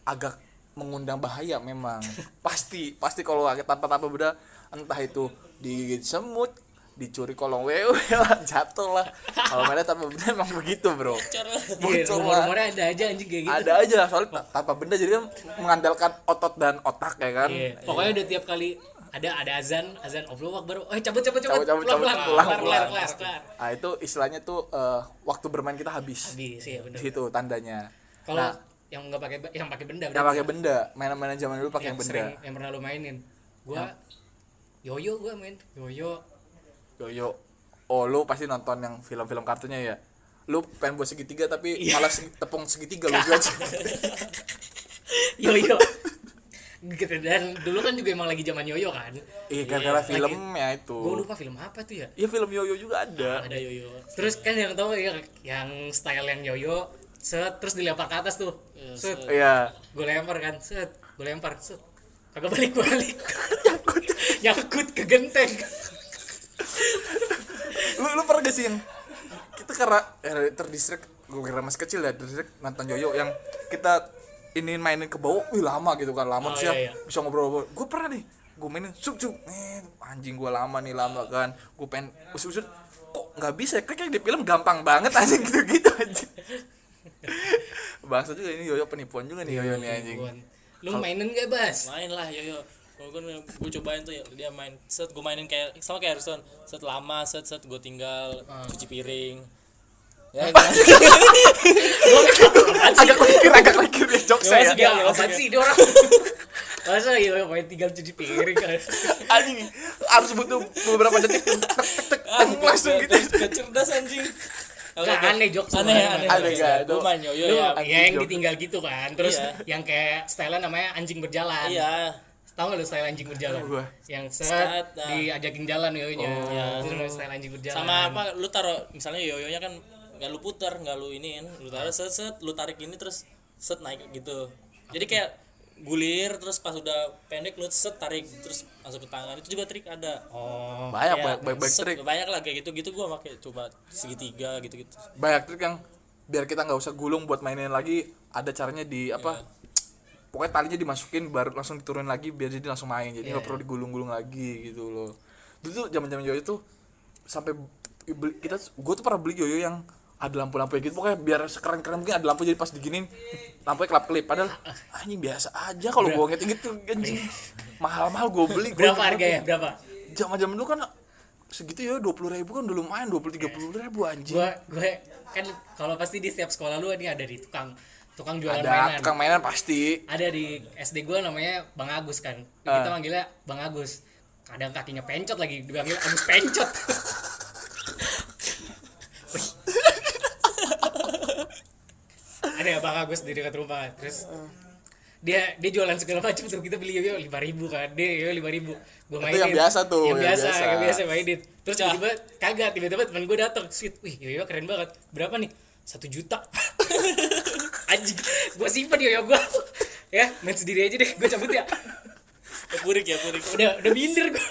[SPEAKER 2] agak mengundang bahaya memang. Pasti, pasti kalau agak tanpa tanpa benda entah itu digigit semut, dicuri kolong wewe lah, jatuh lah. Kalau mainan tanpa benda emang begitu, Bro.
[SPEAKER 4] Cara
[SPEAKER 3] Iya,
[SPEAKER 2] Bocor lah.
[SPEAKER 3] rumor-rumornya ada aja anjing kayak gitu.
[SPEAKER 2] Ada aja soalnya ta- tanpa benda jadi kan mengandalkan otot dan otak ya kan.
[SPEAKER 3] Iya, pokoknya udah tiap kali ada ada azan, azan Allahu Akbar. Eh, cabut cabut cabut.
[SPEAKER 2] Cabut, cabut,
[SPEAKER 3] Pelan,
[SPEAKER 2] cabut,
[SPEAKER 3] pelan,
[SPEAKER 2] pulang,
[SPEAKER 3] pelan,
[SPEAKER 2] pulang.
[SPEAKER 3] pelan, pelan.
[SPEAKER 2] Nah, itu istilahnya tuh eh, waktu bermain kita habis.
[SPEAKER 3] Habis ya
[SPEAKER 2] Di
[SPEAKER 3] benar.
[SPEAKER 2] situ tandanya.
[SPEAKER 3] Kalau
[SPEAKER 2] Nah.
[SPEAKER 3] yang nggak pakai yang pakai benda
[SPEAKER 2] Nggak
[SPEAKER 3] berarti
[SPEAKER 2] pakai benda, mainan-mainan zaman dulu pakai
[SPEAKER 3] yang
[SPEAKER 2] yang benda.
[SPEAKER 3] Iya, sering yang pernah lu mainin. Gua yoyo gua main. Yoyo.
[SPEAKER 2] Yoyo. Oh, lu pasti nonton yang film-film kartunya ya? Lu pengen buat segitiga tapi malah segi- tepung segitiga lu buat.
[SPEAKER 3] Yoyo. gitu dan dulu kan juga emang lagi zaman yoyo kan.
[SPEAKER 2] Iya, gara-gara
[SPEAKER 3] Lagi-
[SPEAKER 2] filmnya itu.
[SPEAKER 3] Gua lupa film apa tuh ya.
[SPEAKER 2] Iya, film Yoyo juga ada.
[SPEAKER 4] ada yoyo.
[SPEAKER 3] Terus kan yang tahu ya yang style yang yoyo set terus dilempar ke atas tuh.
[SPEAKER 4] Iya,
[SPEAKER 3] Set.
[SPEAKER 4] set.
[SPEAKER 2] Iya.
[SPEAKER 3] Gue lempar kan, set. Gue lempar, set. Kagak balik-balik. Nyangkut ke genteng.
[SPEAKER 2] Lu lu pernah gak sih yang kita karena eh, terdistract gue kira masih kecil ya terdistract nonton Yoyo yang kita ini mainin ke bawah, wih lama gitu kan lama
[SPEAKER 3] Oh,
[SPEAKER 2] sih
[SPEAKER 3] iya, iya.
[SPEAKER 2] bisa ngobrol-ngobrol. Gue pernah nih, gue mainin sup sup, eh, anjing gue lama nih lama kan, gue pengen usut usut, kok nggak bisa? Kayak kayak di film gampang banget anjing gitu gitu anjing. Bahasa juga ini Yoyo penipuan juga nih Yoyo nih anjing.
[SPEAKER 3] Buan, Lu mainin gak, Bas?
[SPEAKER 4] Main lah yoyo. Gue gue cobain tuh ya, dia main set gue mainin kayak sama kayak Harrison set lama set set gue tinggal
[SPEAKER 3] Ah.
[SPEAKER 4] cuci piring ya
[SPEAKER 2] agak lekir agak lekir ya jok saya.
[SPEAKER 4] Yoyo
[SPEAKER 3] Ya,
[SPEAKER 4] Iya, iya,
[SPEAKER 3] apaan
[SPEAKER 4] iya.
[SPEAKER 3] sih dia orang? Masa iya main tinggal cuci piring kan?
[SPEAKER 2] Anjing harus butuh beberapa detik tek tek tek teng, langsung gitu.
[SPEAKER 4] gak cerdas anjing
[SPEAKER 3] Gak aneh jokes
[SPEAKER 4] aneh
[SPEAKER 3] lu,
[SPEAKER 4] ya, aneh
[SPEAKER 3] aneh.
[SPEAKER 2] Aneh, gak?
[SPEAKER 4] gue
[SPEAKER 2] Tuh.
[SPEAKER 4] main yoyo
[SPEAKER 3] Lu
[SPEAKER 4] ya
[SPEAKER 3] ya yang ditinggal gitu kan. Terus
[SPEAKER 4] Iya.
[SPEAKER 3] yang kayak style namanya anjing berjalan.
[SPEAKER 4] iya
[SPEAKER 3] Tahu gak lu style anjing berjalan?
[SPEAKER 2] Gua.
[SPEAKER 3] Yang
[SPEAKER 4] Set,
[SPEAKER 3] set
[SPEAKER 4] nah.
[SPEAKER 3] diajakin jalan yoyonya.
[SPEAKER 4] Iya.
[SPEAKER 3] Itu namanya style anjing berjalan.
[SPEAKER 4] sama apa lu taruh misalnya yoyonya kan nggak lu putar nggak lu iniin lu taruh set set lu tarik gini terus set naik gitu jadi kayak gulir terus pas udah pendek lu set tarik terus masuk ke tangan itu juga trik ada
[SPEAKER 3] Oh.
[SPEAKER 4] Ya,
[SPEAKER 2] Banyak banyak banyak
[SPEAKER 4] set,
[SPEAKER 2] trik.
[SPEAKER 4] banyak lah kayak gitu gitu gua pakai coba segitiga gitu gitu
[SPEAKER 2] banyak trik yang biar kita nggak usah gulung buat mainin lagi ada caranya di apa
[SPEAKER 3] Iya.
[SPEAKER 2] pokoknya talinya dimasukin baru langsung diturunin lagi biar jadi langsung main jadi
[SPEAKER 3] Iya.
[SPEAKER 2] nggak perlu digulung-gulung lagi gitu loh dulu tuh zaman-zaman yoyo tuh sampai beli- kita gue tuh pernah beli yoyo yang ada lampu-lampu gitu pokoknya biar sekeren-keren mungkin ada lampu jadi pas diginin lampunya kelap-kelip padahal anjing biasa aja kalau gue ngerti gitu anjing mahal-mahal gue beli gua
[SPEAKER 3] Berapa
[SPEAKER 2] inget
[SPEAKER 3] harganya?
[SPEAKER 2] banget.
[SPEAKER 3] Berapa?
[SPEAKER 2] zaman-zaman dulu kan segitu ya dua puluh ribu kan dulu main dua puluh tiga puluh ribu anjing
[SPEAKER 3] gue gue kan kalau pasti di setiap sekolah lu ini ada di tukang tukang jualan
[SPEAKER 2] ada
[SPEAKER 3] mainan
[SPEAKER 2] tukang mainan pasti
[SPEAKER 3] ada di SD gue namanya Bang Agus kan kita manggilnya Bang Agus kadang kakinya pencot lagi dipanggil Agus pencot ada ya Bang Agus di dekat rumah terus dia dia jualan segala macam tuh kita beli yoyo lima ribu kan dia yoyo lima ribu gue
[SPEAKER 2] yang
[SPEAKER 3] mainin
[SPEAKER 2] biasa tuh,
[SPEAKER 3] yang,
[SPEAKER 2] yang
[SPEAKER 3] biasa,
[SPEAKER 2] biasa.
[SPEAKER 3] yang biasa mainin terus tiba-tiba kagak tiba-tiba teman gue datang sweet wih yoyo keren banget berapa nih satu juta anjing gue simpen yoyo gue ya main sendiri aja deh gue cabut ya
[SPEAKER 4] ya purik ya purik udah
[SPEAKER 3] udah udah minder gue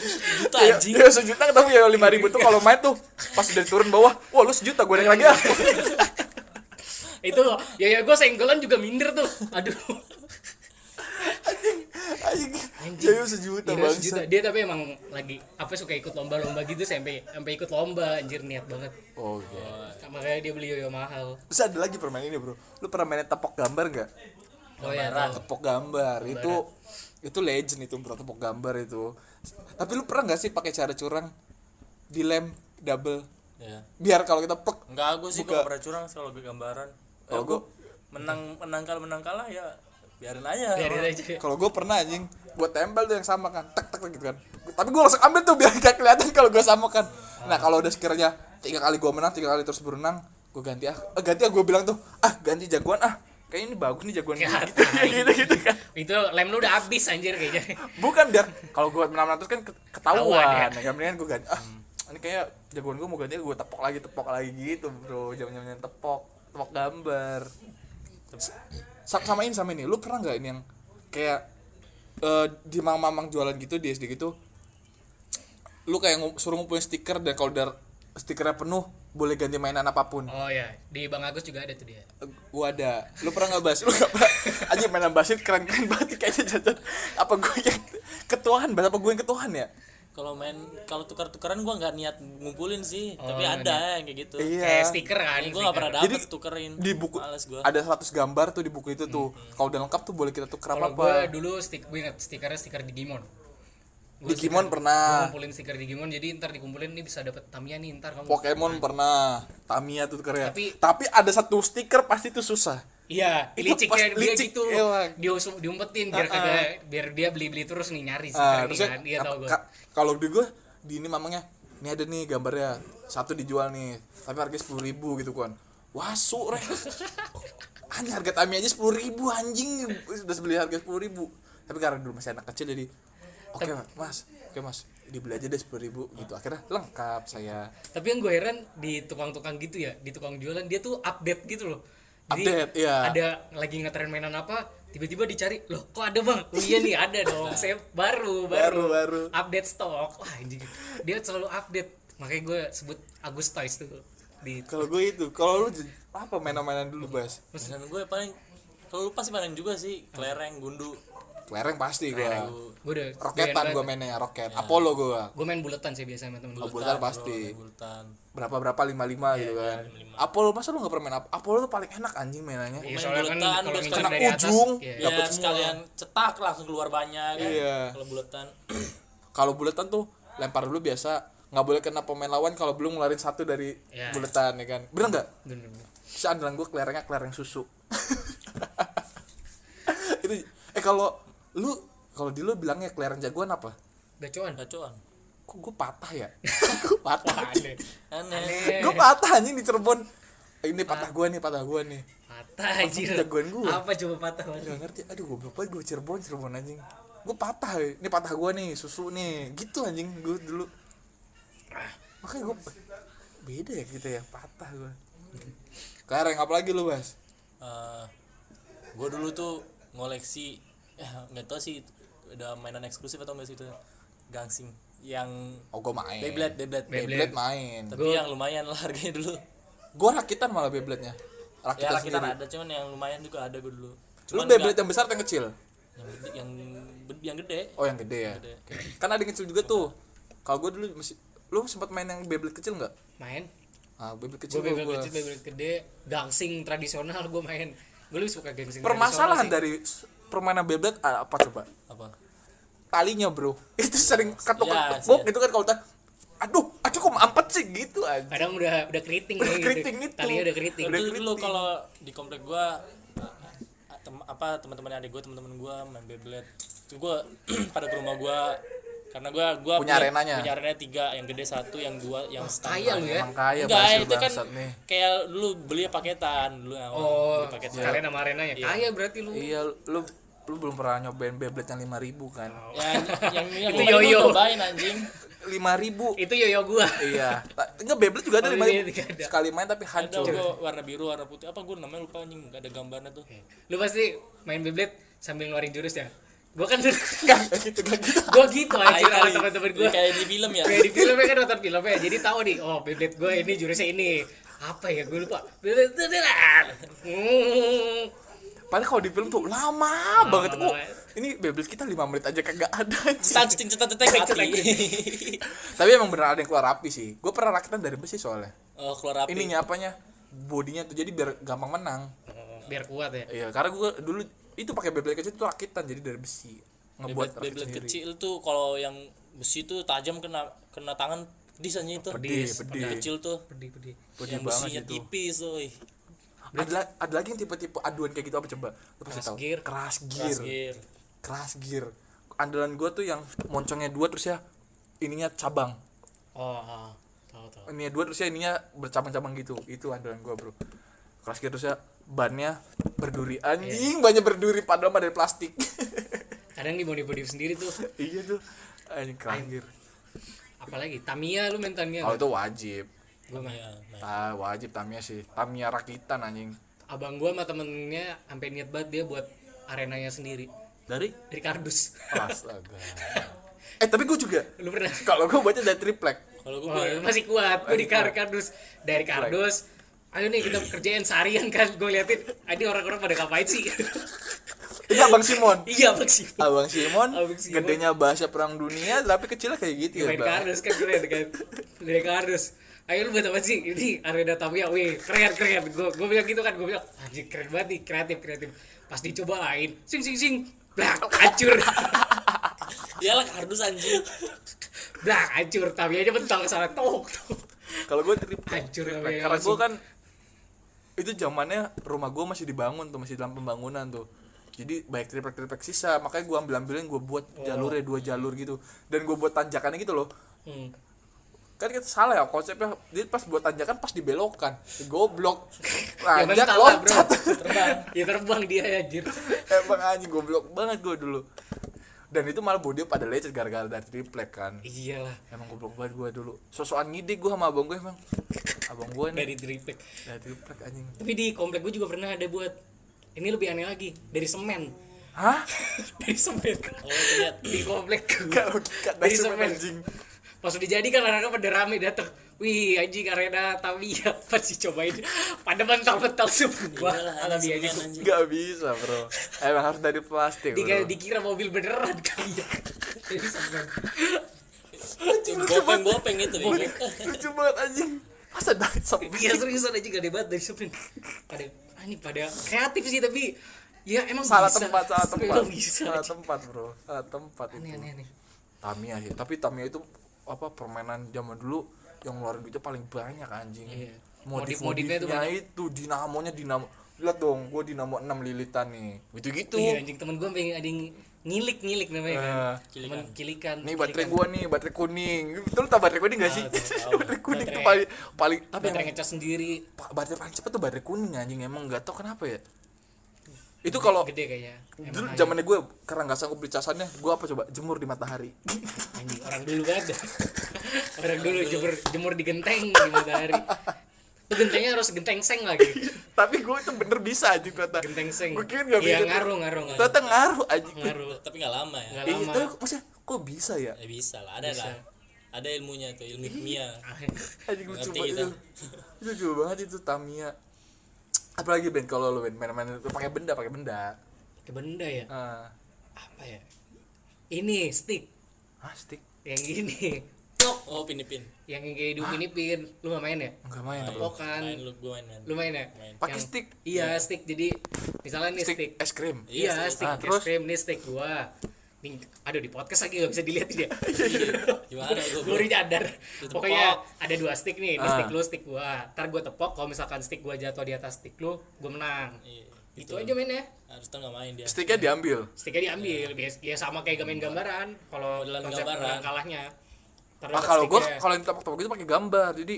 [SPEAKER 4] juta
[SPEAKER 2] Iya,
[SPEAKER 4] anjing
[SPEAKER 2] iya, sejuta ketemu ya lima ribu tuh kalau main tuh pas udah turun bawah, wah lu sejuta gue naik lagi ah.
[SPEAKER 3] itu yoyo gue senggolan juga minder tuh aduh
[SPEAKER 2] Anjing, Yoyo sejuta
[SPEAKER 3] Yoyo Iya, sejuta.
[SPEAKER 2] bangsa.
[SPEAKER 3] dia tapi emang lagi apa suka ikut lomba-lomba gitu sampai sampai ikut lomba anjir niat banget
[SPEAKER 2] Oke.
[SPEAKER 3] makanya dia beli yoyo mahal
[SPEAKER 2] Terus ada lagi permainan ini bro, lu pernah main tepok gambar nggak?
[SPEAKER 3] oh ya tahu.
[SPEAKER 2] Tepok gambar itu itu legend itu bro tepok gambar itu. Tapi lu pernah nggak sih pakai cara curang dilem double
[SPEAKER 4] ya.
[SPEAKER 3] Iya.
[SPEAKER 2] biar kalau kita pek
[SPEAKER 4] enggak gue sih gak pernah curang sih kalau gue gambaran Ya,
[SPEAKER 2] kalau gue
[SPEAKER 4] menang menang kalah menang kalah ya biarin aja
[SPEAKER 3] biarin aja
[SPEAKER 2] kalau gue pernah anjing buat tempel tuh yang sama kan tek tek tek gitu kan tapi gue langsung ambil tuh biar gak kelihatan kalau gue sama kan nah kalau udah sekiranya tiga kali gue menang tiga kali terus berenang gue ganti ah Eh, ganti ah gue bilang tuh ah ganti jagoan ah kayaknya ini bagus nih jagoan
[SPEAKER 3] Ya,
[SPEAKER 2] gitu gitu gitu kan
[SPEAKER 3] itu lem lu udah habis anjir kayaknya
[SPEAKER 2] bukan biar kalau gue 600 kan ke- ketahuan
[SPEAKER 3] Ketahuan, ya.
[SPEAKER 2] ya kan mendingan gue ganti ah ini kayak jagoan gue mau ganti gue tepok lagi tepok lagi gitu bro jam jamnya tepok tepok gambar Sa- sama ini sama ini lu pernah nggak ini yang kayak eh, di mamang-mamang jualan gitu di SD gitu lu kayak ngu- suruh ngumpulin stiker dan kalau udah stikernya penuh boleh ganti mainan apapun
[SPEAKER 3] oh ya di bang agus juga ada tuh dia
[SPEAKER 2] gua ada lu pernah nggak bahas lu nggak pernah aja mainan basket keren keren banget kayaknya jajan apa gue yang ketuaan bahas apa gue yang ketuaan ya
[SPEAKER 4] kalau main kalau tukar-tukaran gua nggak niat ngumpulin sih
[SPEAKER 3] Oh,
[SPEAKER 4] tapi ada yang kayak gitu
[SPEAKER 2] iya
[SPEAKER 3] kayak stiker kan
[SPEAKER 4] Ini gue gak pernah dapet
[SPEAKER 2] Jadi,
[SPEAKER 4] tukerin
[SPEAKER 2] di buku
[SPEAKER 4] Males gue
[SPEAKER 2] ada 100 gambar tuh di buku itu tuh kalau udah lengkap tuh boleh kita tuker apa
[SPEAKER 3] kalau
[SPEAKER 2] apa
[SPEAKER 3] gue dulu stik gue ingat stikernya stiker Digimon Gua
[SPEAKER 2] Digimon
[SPEAKER 3] stiker-
[SPEAKER 2] pernah
[SPEAKER 3] ngumpulin stiker Digimon jadi ntar dikumpulin nih bisa dapet Tamiya nih ntar kamu
[SPEAKER 2] Pokemon pernah Tamiya tuh tukernya tapi,
[SPEAKER 3] Tapi-
[SPEAKER 2] ada satu stiker pasti tuh susah
[SPEAKER 3] Iya,
[SPEAKER 2] Itu
[SPEAKER 3] liciknya
[SPEAKER 2] pas iya,
[SPEAKER 3] dia
[SPEAKER 2] licik,
[SPEAKER 3] gitu.
[SPEAKER 2] ewan.
[SPEAKER 3] Dia usum- diumpetin biar kagak biar dia beli-beli terus nih nyari sih
[SPEAKER 2] Ah,
[SPEAKER 3] nih
[SPEAKER 2] terusnya,
[SPEAKER 3] kan. Iya tahu
[SPEAKER 2] apa-
[SPEAKER 3] gua.
[SPEAKER 2] ka- kalau di gue di ini mamangnya ini ada nih gambarnya satu dijual nih tapi harganya sepuluh ribu gitu kan wasu reh hanya harga tami aja sepuluh ribu anjing udah beli harga sepuluh ribu tapi karena dulu masih anak kecil jadi oke mas oke mas dibeli aja deh sepuluh ribu
[SPEAKER 3] Ah.
[SPEAKER 2] gitu akhirnya lengkap saya
[SPEAKER 3] Tapi yang gue heran di tukang-tukang gitu ya, di tukang jualan dia tuh update gitu loh.
[SPEAKER 2] Update, iya.
[SPEAKER 3] Ada lagi ngetren mainan apa, tiba-tiba dicari, loh kok ada bang? Oh, iya nih ada dong, saya baru,
[SPEAKER 2] Baru,
[SPEAKER 3] baru,
[SPEAKER 2] baru.
[SPEAKER 3] update stok. Wah anjing, dia selalu update. Makanya gue sebut Agus Toys tuh di
[SPEAKER 2] kalau gue itu kalau lu j- apa mainan-mainan dulu bas
[SPEAKER 4] dan gue paling kalau lu pasti main juga sih kelereng gundu
[SPEAKER 2] kelereng pasti gue
[SPEAKER 3] gue udah
[SPEAKER 2] roketan gue mainnya roket
[SPEAKER 3] Ya.
[SPEAKER 2] apollo gue
[SPEAKER 3] gue main buletan sih biasanya sama temen gue
[SPEAKER 2] Bultar pasti
[SPEAKER 4] bultan
[SPEAKER 2] berapa berapa lima lima
[SPEAKER 3] Iya,
[SPEAKER 2] gitu kan Apollo masa lu nggak pernah main Ap- Apollo tuh paling enak anjing mainannya
[SPEAKER 4] Main
[SPEAKER 3] Iya, soalnya kan
[SPEAKER 4] buletan,
[SPEAKER 3] kalau
[SPEAKER 4] terus
[SPEAKER 3] ngincer
[SPEAKER 4] kena
[SPEAKER 3] dari atas,
[SPEAKER 2] ujung.
[SPEAKER 3] iya.
[SPEAKER 4] ya
[SPEAKER 2] Dapet semua.
[SPEAKER 4] sekalian cetak langsung keluar banyak kan
[SPEAKER 2] Iya.
[SPEAKER 4] kalau bulatan
[SPEAKER 2] kalau buletan tuh lempar dulu biasa nggak boleh kena pemain lawan kalau belum ngelarin satu dari
[SPEAKER 3] Iya.
[SPEAKER 2] buletan ya kan bener nggak
[SPEAKER 3] Bener, bener.
[SPEAKER 2] seandalan gue kelerengnya kelereng susu itu eh kalau lu kalau di lu bilangnya kelereng jagoan apa
[SPEAKER 3] Gacoan.
[SPEAKER 4] gacoan
[SPEAKER 2] kok gue patah ya gue patah
[SPEAKER 3] Aneh.
[SPEAKER 4] aneh
[SPEAKER 3] Aneh.
[SPEAKER 2] gue patah anjing di Cirebon ini patah gue nih patah gue nih
[SPEAKER 3] Patah anjir.
[SPEAKER 2] jagoan gua.
[SPEAKER 3] Apa coba patah banget?
[SPEAKER 2] Gak ngerti, aduh goblok banget gue Cirebon, Cirebon anjing Gue patah, woy. ini patah gue nih, susu nih Gitu anjing gue dulu Ah, Makanya gue Beda ya kita ya, patah gue Kareng, apalagi lu Bas?
[SPEAKER 4] gue Eh, dulu tuh ngoleksi ya, nggak tau sih ada mainan eksklusif atau enggak sih itu gangsing yang
[SPEAKER 2] Oh gue main
[SPEAKER 4] Beyblade Beyblade
[SPEAKER 2] Beyblade
[SPEAKER 3] Beyblade.
[SPEAKER 2] main
[SPEAKER 4] tapi yang lumayan lah harganya dulu
[SPEAKER 2] Gue rakitan malah Beyblade-nya
[SPEAKER 4] ya
[SPEAKER 2] Rakitan
[SPEAKER 4] rakitan
[SPEAKER 2] sendiri
[SPEAKER 4] ada cuman yang lumayan juga ada gue dulu
[SPEAKER 2] Lu
[SPEAKER 4] cuman
[SPEAKER 2] Beyblade yang besar atau yang kecil?
[SPEAKER 4] yang gede- yang be- yang gede
[SPEAKER 2] Oh yang gede ya?
[SPEAKER 4] Gede.
[SPEAKER 2] Kan ada yang kecil juga tuh Kalau gue dulu masih Lu sempat main yang Beyblade kecil gak?
[SPEAKER 3] Main.
[SPEAKER 2] Ah, Beyblade
[SPEAKER 3] Gue
[SPEAKER 2] kecil
[SPEAKER 3] bebel
[SPEAKER 2] gua-
[SPEAKER 3] kecil, bebel gede, gangsing tradisional gue main. Gue lebih suka gangsing
[SPEAKER 2] Permasalahan
[SPEAKER 3] tradisional
[SPEAKER 2] dari s-
[SPEAKER 3] sih.
[SPEAKER 2] permainan Beyblade ah, apa coba?
[SPEAKER 4] apa
[SPEAKER 2] talinya bro itu sering ketuk
[SPEAKER 4] Iya,
[SPEAKER 2] ketuk
[SPEAKER 4] iya.
[SPEAKER 2] gitu kan kalau tak aduh aduh kok mampet sih gitu aja
[SPEAKER 3] Kadang udah udah keriting
[SPEAKER 2] Udah
[SPEAKER 3] nih.
[SPEAKER 2] keriting itu.
[SPEAKER 3] Talinya udah keriting.
[SPEAKER 2] Udah
[SPEAKER 4] dulu dulu
[SPEAKER 2] keriting.
[SPEAKER 4] kalau di komplek gua a- a- tem- apa teman-teman adik gua teman-teman gua main Beyblade itu gua pada ke rumah gua karena gua gua
[SPEAKER 2] Punya arenanya.
[SPEAKER 4] punya arenanya tiga yang gede satu yang dua yang stand
[SPEAKER 3] Kaya lu ya.
[SPEAKER 2] emang kaya
[SPEAKER 4] enggak
[SPEAKER 2] berhasil
[SPEAKER 4] itu kan
[SPEAKER 2] Ah, iya, bangsat nih
[SPEAKER 4] kayak dulu beli paketan dulu awal
[SPEAKER 3] Oh,
[SPEAKER 4] beli paketan
[SPEAKER 3] kalian sama arena ya. Kaya berarti lu.
[SPEAKER 2] iya lu lu belum pernah nyobain Beyblade yang lima ribu kan
[SPEAKER 4] ya, yang yang
[SPEAKER 3] Itu
[SPEAKER 4] kemarin gua
[SPEAKER 3] yoyo.
[SPEAKER 4] cobain anjing
[SPEAKER 2] lima ribu
[SPEAKER 3] Itu yoyo gua.
[SPEAKER 2] iya Ta- enggak Beyblade juga ada
[SPEAKER 3] Oh,
[SPEAKER 2] lima ribu
[SPEAKER 3] iya, ada.
[SPEAKER 2] sekali main tapi
[SPEAKER 4] ada
[SPEAKER 2] hancur
[SPEAKER 4] gua warna biru warna putih apa gua namanya lupa anjing nggak ada gambarnya tuh
[SPEAKER 3] Lu pasti main Beyblade sambil ngeluarin jurus ya. Gue kan
[SPEAKER 2] enggak gitu enggak gitu
[SPEAKER 3] gue gitu anjir sama
[SPEAKER 4] Kali-
[SPEAKER 3] teman-teman gue.
[SPEAKER 4] iya. kayak di film ya
[SPEAKER 3] kayak di filmnya kan nonton filmnya jadi tahu nih oh Beyblade gue ini jurusnya ini apa ya gue lupa Beyblade itu dia lah. Hmm.
[SPEAKER 2] padahal kalau di film tuh lama, banget kok
[SPEAKER 3] banget.
[SPEAKER 2] ini Beyblade kita lima menit aja kagak ada anjing.
[SPEAKER 4] cetak ceting cetak cetek mati
[SPEAKER 2] tapi emang beneran ada yang keluar api sih gue pernah rakitan dari besi soalnya
[SPEAKER 4] oh keluar api
[SPEAKER 2] ininya apanya bodinya tuh jadi biar gampang menang
[SPEAKER 3] biar kuat ya
[SPEAKER 2] Iya, karena gue dulu itu pakai Beyblade kecil tuh rakitan jadi dari besi.
[SPEAKER 4] Beyblade,
[SPEAKER 2] Ngebuat rakit
[SPEAKER 4] Beyblade
[SPEAKER 2] sendiri.
[SPEAKER 4] kecil tuh kalau yang besi tuh tajam kena kena tangan pedis aja itu.
[SPEAKER 2] Pedih,
[SPEAKER 4] Yang
[SPEAKER 2] pedih.
[SPEAKER 4] kecil tuh.
[SPEAKER 3] pedih pedih
[SPEAKER 2] Pedih
[SPEAKER 4] yang
[SPEAKER 2] banget
[SPEAKER 4] besinya
[SPEAKER 2] itu.
[SPEAKER 4] tipis tuh. ih.
[SPEAKER 2] Ada, la- ada lagi yang tipe-tipe aduan kayak gitu apa coba? Lu pasti
[SPEAKER 3] Keras
[SPEAKER 2] tahu.
[SPEAKER 3] gear.
[SPEAKER 2] Keras
[SPEAKER 4] Keras
[SPEAKER 2] gear.
[SPEAKER 4] gear.
[SPEAKER 2] Keras gear. Andalan gue tuh yang moncongnya dua terus ya ininya cabang.
[SPEAKER 3] oh, oh. tahu tahu
[SPEAKER 2] ini dua terusnya ininya bercabang-cabang gitu itu andalan gua bro keras gitu terusnya bannya berduri anjing banyak berduri padahal mah dari plastik
[SPEAKER 3] kadang di body body sendiri tuh
[SPEAKER 2] iya tuh anjing kranjir
[SPEAKER 3] apalagi Tamiya lu main Tamiya
[SPEAKER 2] kalau
[SPEAKER 3] nggak?
[SPEAKER 2] itu wajib
[SPEAKER 3] Gua main.
[SPEAKER 4] Iya, nah.
[SPEAKER 2] ah wajib tamia sih tamia rakitan anjing
[SPEAKER 3] abang gua sama temennya sampai niat banget dia buat arenanya sendiri
[SPEAKER 2] dari
[SPEAKER 3] dari kardus
[SPEAKER 2] astaga eh tapi gua juga
[SPEAKER 3] lu pernah
[SPEAKER 2] kalau gua baca dari triplek
[SPEAKER 4] Kalau gue
[SPEAKER 3] Wah, masih kuat gue di kar kardus dari kardus ayo nih kita kerjain seharian kan gue liatin ini orang-orang pada ngapain sih
[SPEAKER 2] itu abang Simon
[SPEAKER 3] iya bang sih
[SPEAKER 2] Abang Simon,
[SPEAKER 3] Abang Ah, Simon.
[SPEAKER 2] gedenya bahasa perang dunia tapi kecilnya kayak gitu ya,
[SPEAKER 3] main
[SPEAKER 2] Bang.
[SPEAKER 3] kardus kan gue liat kan dari kardus ayo lu buat apa sih ini arena Tamiya weh keren keren gue gue bilang gitu kan gue bilang anjir keren banget nih kreatif kreatif pas dicobain sing sing sing blak hancur
[SPEAKER 4] Iyalah kardus anjing.
[SPEAKER 3] blak hancur Tamiya aja bentar ke sana tok tok.
[SPEAKER 2] Kalau gue triplek,
[SPEAKER 3] Hancur ya,
[SPEAKER 2] triplek.
[SPEAKER 3] namanya
[SPEAKER 2] karena
[SPEAKER 3] langsung.
[SPEAKER 2] gue kan itu zamannya rumah gue masih dibangun tuh, masih dalam pembangunan tuh. Jadi baik triplek triplek sisa, makanya gue ambil ambilin gue buat
[SPEAKER 3] Oh.
[SPEAKER 2] jalurnya dua jalur gitu, dan gue buat tanjakannya gitu loh.
[SPEAKER 3] Hmm.
[SPEAKER 2] Kan kita salah ya konsepnya, jadi pas buat tanjakan pas dibelokkan, goblok,
[SPEAKER 3] Ya
[SPEAKER 2] tanjak
[SPEAKER 3] mental lah, bro.
[SPEAKER 2] loncat.
[SPEAKER 3] Terbang. Ya terbang dia ya, anjir.
[SPEAKER 2] Emang anjing goblok banget gue dulu. Dan itu malah bodi pada lecet gara-gara dari triplek kan.
[SPEAKER 3] Iyalah.
[SPEAKER 2] Emang goblok banget gue dulu Sosokan ngide gue sama abang gue emang Abang gue nih
[SPEAKER 3] Dari triplek.
[SPEAKER 2] Dari triplek anjing
[SPEAKER 3] Tapi di komplek gue juga pernah ada buat ini lebih aneh lagi dari semen.
[SPEAKER 2] Hah?
[SPEAKER 3] dari semen.
[SPEAKER 2] Oh,
[SPEAKER 4] Kalau gua
[SPEAKER 2] iya.
[SPEAKER 4] lihat
[SPEAKER 3] di komplek
[SPEAKER 2] Gak, gak dari
[SPEAKER 3] dari
[SPEAKER 2] semen
[SPEAKER 3] semen.
[SPEAKER 2] anjing
[SPEAKER 3] Pas udah jadi kan anak-anak pada rame datang. Wih, anjing arena Tamiya pas dicobain. Pada mental-mental semua.
[SPEAKER 4] iyalah anjing
[SPEAKER 3] Alami aja.
[SPEAKER 4] semen, anjing.
[SPEAKER 2] Gak bisa bro Emang harus dari plastik bro
[SPEAKER 3] Dikira, dikira mobil beneran kali ya. Dari semen.
[SPEAKER 4] Gopeng-gopeng itu. ya.
[SPEAKER 2] Lucu banget anjing Masa dari semen
[SPEAKER 3] Iya seriusan aja gak ada banget dari semen. Pada ah, ini pada kreatif sih tapi ya emang
[SPEAKER 2] Salah
[SPEAKER 3] bisa.
[SPEAKER 2] tempat, salah tempat
[SPEAKER 3] Emang bisa.
[SPEAKER 2] Salah
[SPEAKER 3] anjing.
[SPEAKER 2] tempat bro Salah tempat
[SPEAKER 3] Aneh
[SPEAKER 2] itu
[SPEAKER 3] aneh aneh.
[SPEAKER 2] Tamiya sih Tapi Tamiya itu apa permainan zaman dulu yang ngeluarin duitnya paling banyak anjing
[SPEAKER 3] Iya.
[SPEAKER 2] modif-modifnya
[SPEAKER 3] Modif-modifnya tuh
[SPEAKER 2] itu dinamonya dinamo lihat dong gue dinamo 6 lilitan nih gitu gitu
[SPEAKER 3] Iya anjing temen gue pengen ada yang ngilik ngilik namanya kan.
[SPEAKER 2] Eh,
[SPEAKER 3] Temen kilikan.
[SPEAKER 2] Nih baterai gua nih, baterai kuning. Betul tak baterai kuning gak
[SPEAKER 3] Ah,
[SPEAKER 2] sih? baterai kuning tuh paling paling tapi
[SPEAKER 3] Baterai
[SPEAKER 2] emang-
[SPEAKER 3] ngecas sendiri
[SPEAKER 2] pa- baterai paling cepet tuh baterai kuning anjing emang nggak tau kenapa
[SPEAKER 3] Iya.
[SPEAKER 2] ya. Itu kalau
[SPEAKER 3] gede kayaknya.
[SPEAKER 2] dulu
[SPEAKER 3] gitu.
[SPEAKER 2] zamannya gue karena nggak sanggup beli casannya, gue apa coba jemur di matahari.
[SPEAKER 3] Anjing orang dulu banget. dah. orang dulu jemur jemur di genteng di matahari. Itu gentengnya harus genteng seng lagi.
[SPEAKER 2] Tapi gue itu bener bisa anjing ternyata.
[SPEAKER 3] Genteng seng.
[SPEAKER 2] Gue kira Iya. nggak
[SPEAKER 3] Iya
[SPEAKER 2] bisa.
[SPEAKER 3] ngaruh ngaruh ngaruh.
[SPEAKER 2] Ternyata ngaruh anjing.
[SPEAKER 3] Ngaruh.
[SPEAKER 4] Tapi nggak lama ya.
[SPEAKER 3] Nggak
[SPEAKER 2] Iya,
[SPEAKER 3] lama.
[SPEAKER 2] tapi maksudnya kok bisa ya?
[SPEAKER 4] Ya bisa lah, ada lah. Ada ilmunya tuh, ilmu kimia.
[SPEAKER 2] Anjing lucu
[SPEAKER 4] Ngerti
[SPEAKER 2] banget itu. Itu lucu banget itu Tamiya. Apalagi Ben kalau lu Ben main-main itu pakai benda, pakai benda.
[SPEAKER 3] Ke benda ya.
[SPEAKER 2] Ah,
[SPEAKER 3] Apa ya? Ini stick
[SPEAKER 2] ah, stick.
[SPEAKER 3] yang gini.
[SPEAKER 4] Oh, pin-pin.
[SPEAKER 3] yang kayak hidup ini pin lu gak main ya
[SPEAKER 2] Enggak main apa?
[SPEAKER 4] Main
[SPEAKER 3] tepokan
[SPEAKER 4] lu gue mainan.
[SPEAKER 3] Kan. lu main ya
[SPEAKER 4] Main.
[SPEAKER 2] Pakai
[SPEAKER 3] Yang-
[SPEAKER 2] stick.
[SPEAKER 3] iya stick jadi misalnya nih stick,
[SPEAKER 2] stick es krim.
[SPEAKER 3] iya
[SPEAKER 4] Iya,
[SPEAKER 3] stick
[SPEAKER 2] Ah,
[SPEAKER 3] es
[SPEAKER 2] terus?
[SPEAKER 3] krim nih stick gua Nih, aduh di podcast lagi gak bisa dilihat ya
[SPEAKER 4] Gimana itu?
[SPEAKER 3] gue udah nyadar
[SPEAKER 4] Ditepok.
[SPEAKER 3] pokoknya ada dua stick nih ini
[SPEAKER 2] Ah.
[SPEAKER 3] stick lu stick gua ntar gua tepok kalau misalkan stick gua jatuh di atas stick lu gua menang
[SPEAKER 4] Iya,
[SPEAKER 3] itu aja mainnya
[SPEAKER 4] Harus tau nggak main dia.
[SPEAKER 2] Sticknya diambil.
[SPEAKER 3] sticknya diambil bias ya sama kayak main gambaran kalau
[SPEAKER 4] Modelan
[SPEAKER 3] konsep
[SPEAKER 4] gambaran.
[SPEAKER 3] menang kalahnya Ntar
[SPEAKER 2] Ah
[SPEAKER 3] ada
[SPEAKER 2] kalau gua
[SPEAKER 3] sticknya.
[SPEAKER 2] kalau yang tepok-tepok itu pakai gambar. Jadi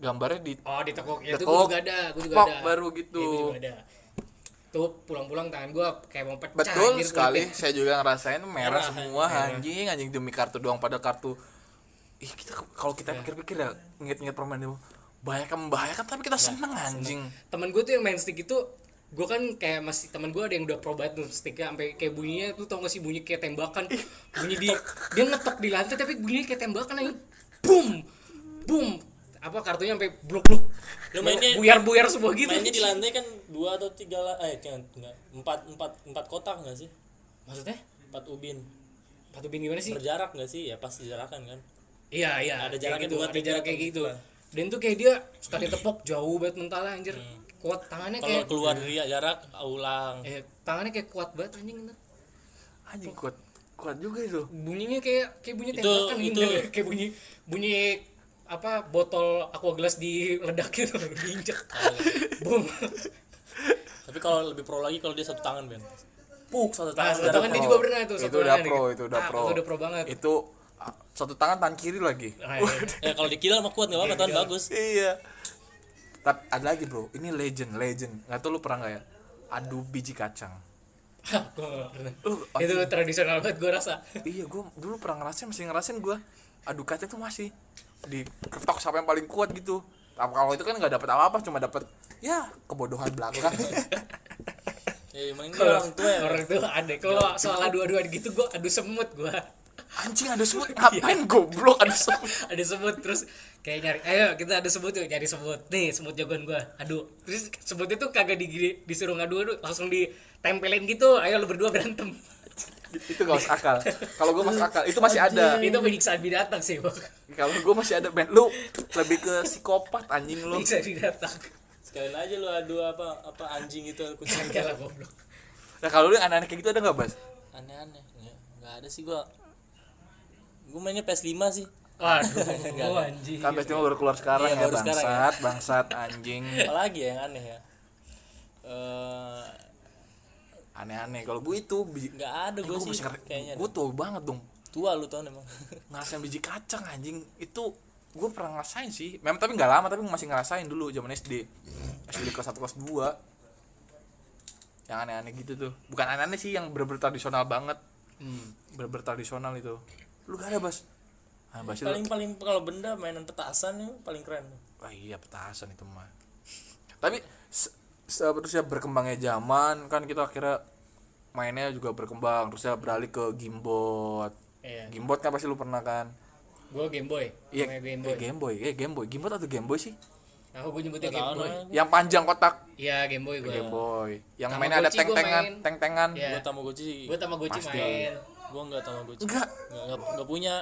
[SPEAKER 2] gambarnya di
[SPEAKER 3] Oh ditekuk ya itu gue
[SPEAKER 2] Tekuk.
[SPEAKER 3] juga ada, gue juga
[SPEAKER 2] Pok,
[SPEAKER 3] ada.
[SPEAKER 2] baru gitu.
[SPEAKER 3] Iya, gua juga ada. Tuh pulang-pulang tangan gue kayak mau pecah.
[SPEAKER 2] Betul
[SPEAKER 3] anjir,
[SPEAKER 2] sekali.
[SPEAKER 3] kulit
[SPEAKER 2] Saya juga ngerasain merah
[SPEAKER 4] Merah,
[SPEAKER 2] semua anjing, anjing demi kartu doang pada kartu. Ih, kita kalau kita pikir-pikir ya, inget-inget permainan itu banyak yang membahayakan tapi kita seneng anjing.
[SPEAKER 3] gua. Temen gue tuh yang main stick itu gue kan kayak masih temen gue ada yang udah pro banget tuh sticknya sampai kayak bunyinya tuh tau gak sih bunyi kayak tembakan bunyi di dia ngetok di lantai tapi bunyinya kayak tembakan aja boom boom apa kartunya sampai blok blok
[SPEAKER 4] Lu mainnya-
[SPEAKER 3] buyar buyar semua gitu
[SPEAKER 4] Mainnya di lantai kan dua atau tiga lah, eh jangan enggak, empat empat empat kotak nggak sih?
[SPEAKER 3] maksudnya
[SPEAKER 4] Empat ubin.
[SPEAKER 3] patu bin gimana sih
[SPEAKER 4] Berjarak nggak sih? Ya pasti jarakan kan.
[SPEAKER 3] Iya iya.
[SPEAKER 4] Ada
[SPEAKER 3] kayak
[SPEAKER 4] jaraknya
[SPEAKER 3] gitu,
[SPEAKER 4] dua,
[SPEAKER 3] ada
[SPEAKER 4] tiga
[SPEAKER 3] jarak
[SPEAKER 4] atau
[SPEAKER 3] kayak
[SPEAKER 4] empat.
[SPEAKER 3] gitu. Dan tuh kayak dia suka ditepok jauh banget mentalnya anjir. Kuat tangannya
[SPEAKER 4] Hmm. Kalau
[SPEAKER 3] kayak
[SPEAKER 4] keluar dari jarak, ah, ulang.
[SPEAKER 3] eh, tangannya kayak kuat banget anjing itu.
[SPEAKER 2] Anjing kuat kuat juga itu.
[SPEAKER 3] Bunyinya kayak kayak bunyi
[SPEAKER 4] Itu-
[SPEAKER 3] tembakan
[SPEAKER 4] itu-
[SPEAKER 3] bener. kayak bunyi bunyi apa botol aqua glass diledak gitu diinjek. Boom.
[SPEAKER 4] Tapi kalau lebih pro lagi kalau dia satu tangan Ben. Puk satu
[SPEAKER 3] Nah,
[SPEAKER 4] tangan.
[SPEAKER 3] satu
[SPEAKER 4] jarak.
[SPEAKER 3] kan dia
[SPEAKER 2] pro.
[SPEAKER 3] juga pernah tuh
[SPEAKER 2] Itu
[SPEAKER 3] satu
[SPEAKER 2] udah
[SPEAKER 3] tangan
[SPEAKER 2] pro,
[SPEAKER 3] gitu.
[SPEAKER 2] itu udah
[SPEAKER 3] Ah,
[SPEAKER 2] pro.
[SPEAKER 3] udah pro banget.
[SPEAKER 2] Itu ah, satu tangan tangan kiri lagi
[SPEAKER 3] Ah, iya.
[SPEAKER 4] ya kalau di kidal mah kuat nggak apa-apa tahun bagus
[SPEAKER 2] iya tapi ada lagi bro ini legend legend nggak tau lu pernah nggak ya adu biji kacang
[SPEAKER 3] Hah, gua nggak pernah.
[SPEAKER 2] Lu,
[SPEAKER 3] itu tradisional banget gue rasa
[SPEAKER 2] iya gue dulu pernah ngerasain masih ngerasain gue adu kacang tuh masih diketok siapa yang paling kuat gitu Tapi kalau itu kan nggak dapat apa-apa cuma dapat ya kebodohan belakang
[SPEAKER 4] ya main
[SPEAKER 3] Kalau
[SPEAKER 4] orang tua ya
[SPEAKER 3] orang tua ada kalau soal adu-aduan gitu gue adu semut gue
[SPEAKER 2] anjing ada semut ngapain goblok ada semut
[SPEAKER 3] ada semut terus kayak nyari ayo kita ada semut yuk nyari semut nih semut jagoan gue adu terus semutnya tuh kagak di, disuruh ngadu adu langsung ditempelin gitu ayo lu berdua berantem
[SPEAKER 2] itu gak masuk akal kalau gue masuk akal itu masih ada
[SPEAKER 3] itu penyiksaan binatang sih bang
[SPEAKER 2] kalau gue masih ada ben lu lebih ke psikopat anjing
[SPEAKER 4] Iya.
[SPEAKER 2] lu
[SPEAKER 3] penyiksaan binatang
[SPEAKER 4] sekalian aja lu adu apa apa anjing itu kucing
[SPEAKER 3] kagak lah goblok
[SPEAKER 2] nah kalau lu yang anak-anak kayak gitu ada nggak bas
[SPEAKER 4] aneh-aneh Ya, nggak ada sih gua gua mainnya PS5 sih
[SPEAKER 3] waduh oh, anjing
[SPEAKER 2] kan cuma baru keluar sekarang
[SPEAKER 4] Iya,
[SPEAKER 2] ya
[SPEAKER 4] baru
[SPEAKER 2] bangsat
[SPEAKER 4] sekarang
[SPEAKER 2] bangsat anjing
[SPEAKER 4] apalagi ya yang aneh ya Eh,
[SPEAKER 2] aneh-aneh kalau gue itu biji
[SPEAKER 4] nggak ada
[SPEAKER 2] gue
[SPEAKER 4] gua sih
[SPEAKER 2] masih
[SPEAKER 4] kayaknya
[SPEAKER 2] gue tua banget dong
[SPEAKER 4] tua lu tahun emang
[SPEAKER 2] ngerasain biji kacang anjing itu gue pernah ngerasain sih memang tapi nggak lama tapi masih ngerasain dulu zaman SD SD kelas 1 kelas 2 yang aneh-aneh gitu tuh bukan aneh-aneh sih yang bener-bener tradisional banget
[SPEAKER 3] Hmm.
[SPEAKER 2] bener-bener tradisional itu lu gak ada bas ah, bas lu
[SPEAKER 4] paling paling kalau benda mainan petasan yang paling keren
[SPEAKER 2] Wah, iya petasan itu mah tapi se- se- terus ya berkembangnya zaman kan kita akhirnya mainnya juga berkembang terus ya beralih ke gimbot
[SPEAKER 3] Iya.
[SPEAKER 2] gimbot kan pasti lu pernah kan
[SPEAKER 3] gue Game Boy
[SPEAKER 2] iya
[SPEAKER 3] Namanya Game
[SPEAKER 2] Game
[SPEAKER 3] Boy
[SPEAKER 2] Boy Game Boy eh, Game Boy gimbot atau Game Boy sih
[SPEAKER 3] aku gue nyebutnya Game Boy
[SPEAKER 2] yang panjang kotak
[SPEAKER 3] iya Game Boy gue
[SPEAKER 2] Game Boy yang
[SPEAKER 3] Tamagotchi
[SPEAKER 2] mainnya ada
[SPEAKER 3] gua
[SPEAKER 2] teng-tengan
[SPEAKER 3] main.
[SPEAKER 2] teng-tengan
[SPEAKER 3] Iya.
[SPEAKER 4] gua tamagotchi sih
[SPEAKER 3] gue Tamagotchi
[SPEAKER 2] Pasti.
[SPEAKER 3] main
[SPEAKER 4] gua nggak tamagotchi
[SPEAKER 2] enggak
[SPEAKER 4] nggak nggak nggak punya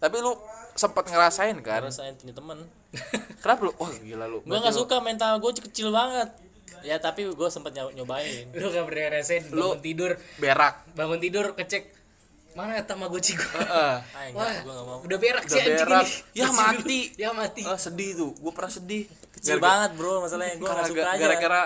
[SPEAKER 2] tapi lu sempet ngerasain kan
[SPEAKER 4] rasain punya temen
[SPEAKER 2] kenapa lu oh gila lu
[SPEAKER 4] gua nggak suka main tamagotchi kecil banget ya tapi gua sempet nyo- nyobain
[SPEAKER 3] lu gak pernah ngerasain bangun tidur
[SPEAKER 2] berak
[SPEAKER 3] bangun tidur kecek mana Tamagotchi gue
[SPEAKER 2] Heeh.
[SPEAKER 4] ah enggak
[SPEAKER 3] wah
[SPEAKER 4] gua nggak mau
[SPEAKER 3] udah berak sih
[SPEAKER 2] Udah
[SPEAKER 3] anjing
[SPEAKER 2] berak.
[SPEAKER 3] ini.
[SPEAKER 2] Ya,
[SPEAKER 3] Kasih dulu.
[SPEAKER 2] mati.
[SPEAKER 3] ya mati
[SPEAKER 2] Eh, sedih tuh gue pernah sedih
[SPEAKER 4] kecil
[SPEAKER 2] Gara-gara-
[SPEAKER 4] banget bro masalahnya gua nggak suka
[SPEAKER 2] Gara-
[SPEAKER 4] aja
[SPEAKER 2] gara-gara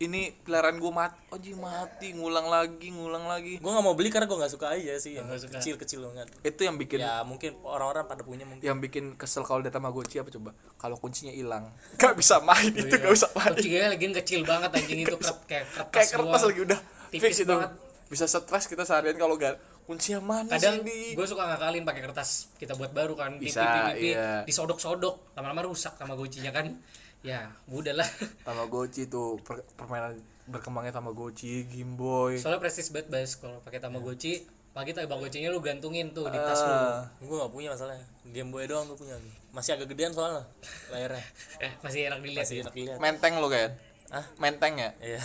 [SPEAKER 2] ini peliharaan gue mati oh ji mati ngulang lagi ngulang lagi
[SPEAKER 4] gua nggak mau beli karena gua nggak suka aja sih yang
[SPEAKER 3] Nggak suka.
[SPEAKER 4] kecil kecil banget
[SPEAKER 2] itu yang bikin
[SPEAKER 4] ya mungkin orang-orang pada punya mungkin
[SPEAKER 2] yang bikin kesel kalau dari Tamagotchi apa coba kalau kuncinya hilang gak bisa main itu gak bisa main
[SPEAKER 3] kucingnya lagi kecil banget anjing itu kret- kayak kertas
[SPEAKER 2] kayak kertas
[SPEAKER 3] doang.
[SPEAKER 2] lagi udah
[SPEAKER 3] Tipis
[SPEAKER 2] fix itu
[SPEAKER 3] banget.
[SPEAKER 2] bisa stres kita seharian kalau gak kuncinya mana Iya
[SPEAKER 3] kadang
[SPEAKER 2] sih di
[SPEAKER 3] gue suka ngakalin pakai kertas kita buat baru kan pipi
[SPEAKER 2] Bisa,
[SPEAKER 3] pipi
[SPEAKER 2] iya.
[SPEAKER 3] disodok-sodok lama-lama rusak Tamagotchinya kan ya udah lah
[SPEAKER 2] Tamagotchi tuh per- permainan berkembangnya Tamagotchi Game Boy
[SPEAKER 3] soalnya prestis banget bas kalau pakai Tamagotchi pagi Tamagotchinya lu gantungin tuh di tas lu
[SPEAKER 2] Iya. Ah,
[SPEAKER 4] gua nggak punya masalahnya Game Boy doang gua punya masih agak gedean soalnya layarnya
[SPEAKER 3] eh, masih enak dilihat
[SPEAKER 2] Iya.
[SPEAKER 4] masih enak dilihat
[SPEAKER 2] menteng lo kan
[SPEAKER 4] Hah?
[SPEAKER 2] menteng ya
[SPEAKER 4] iya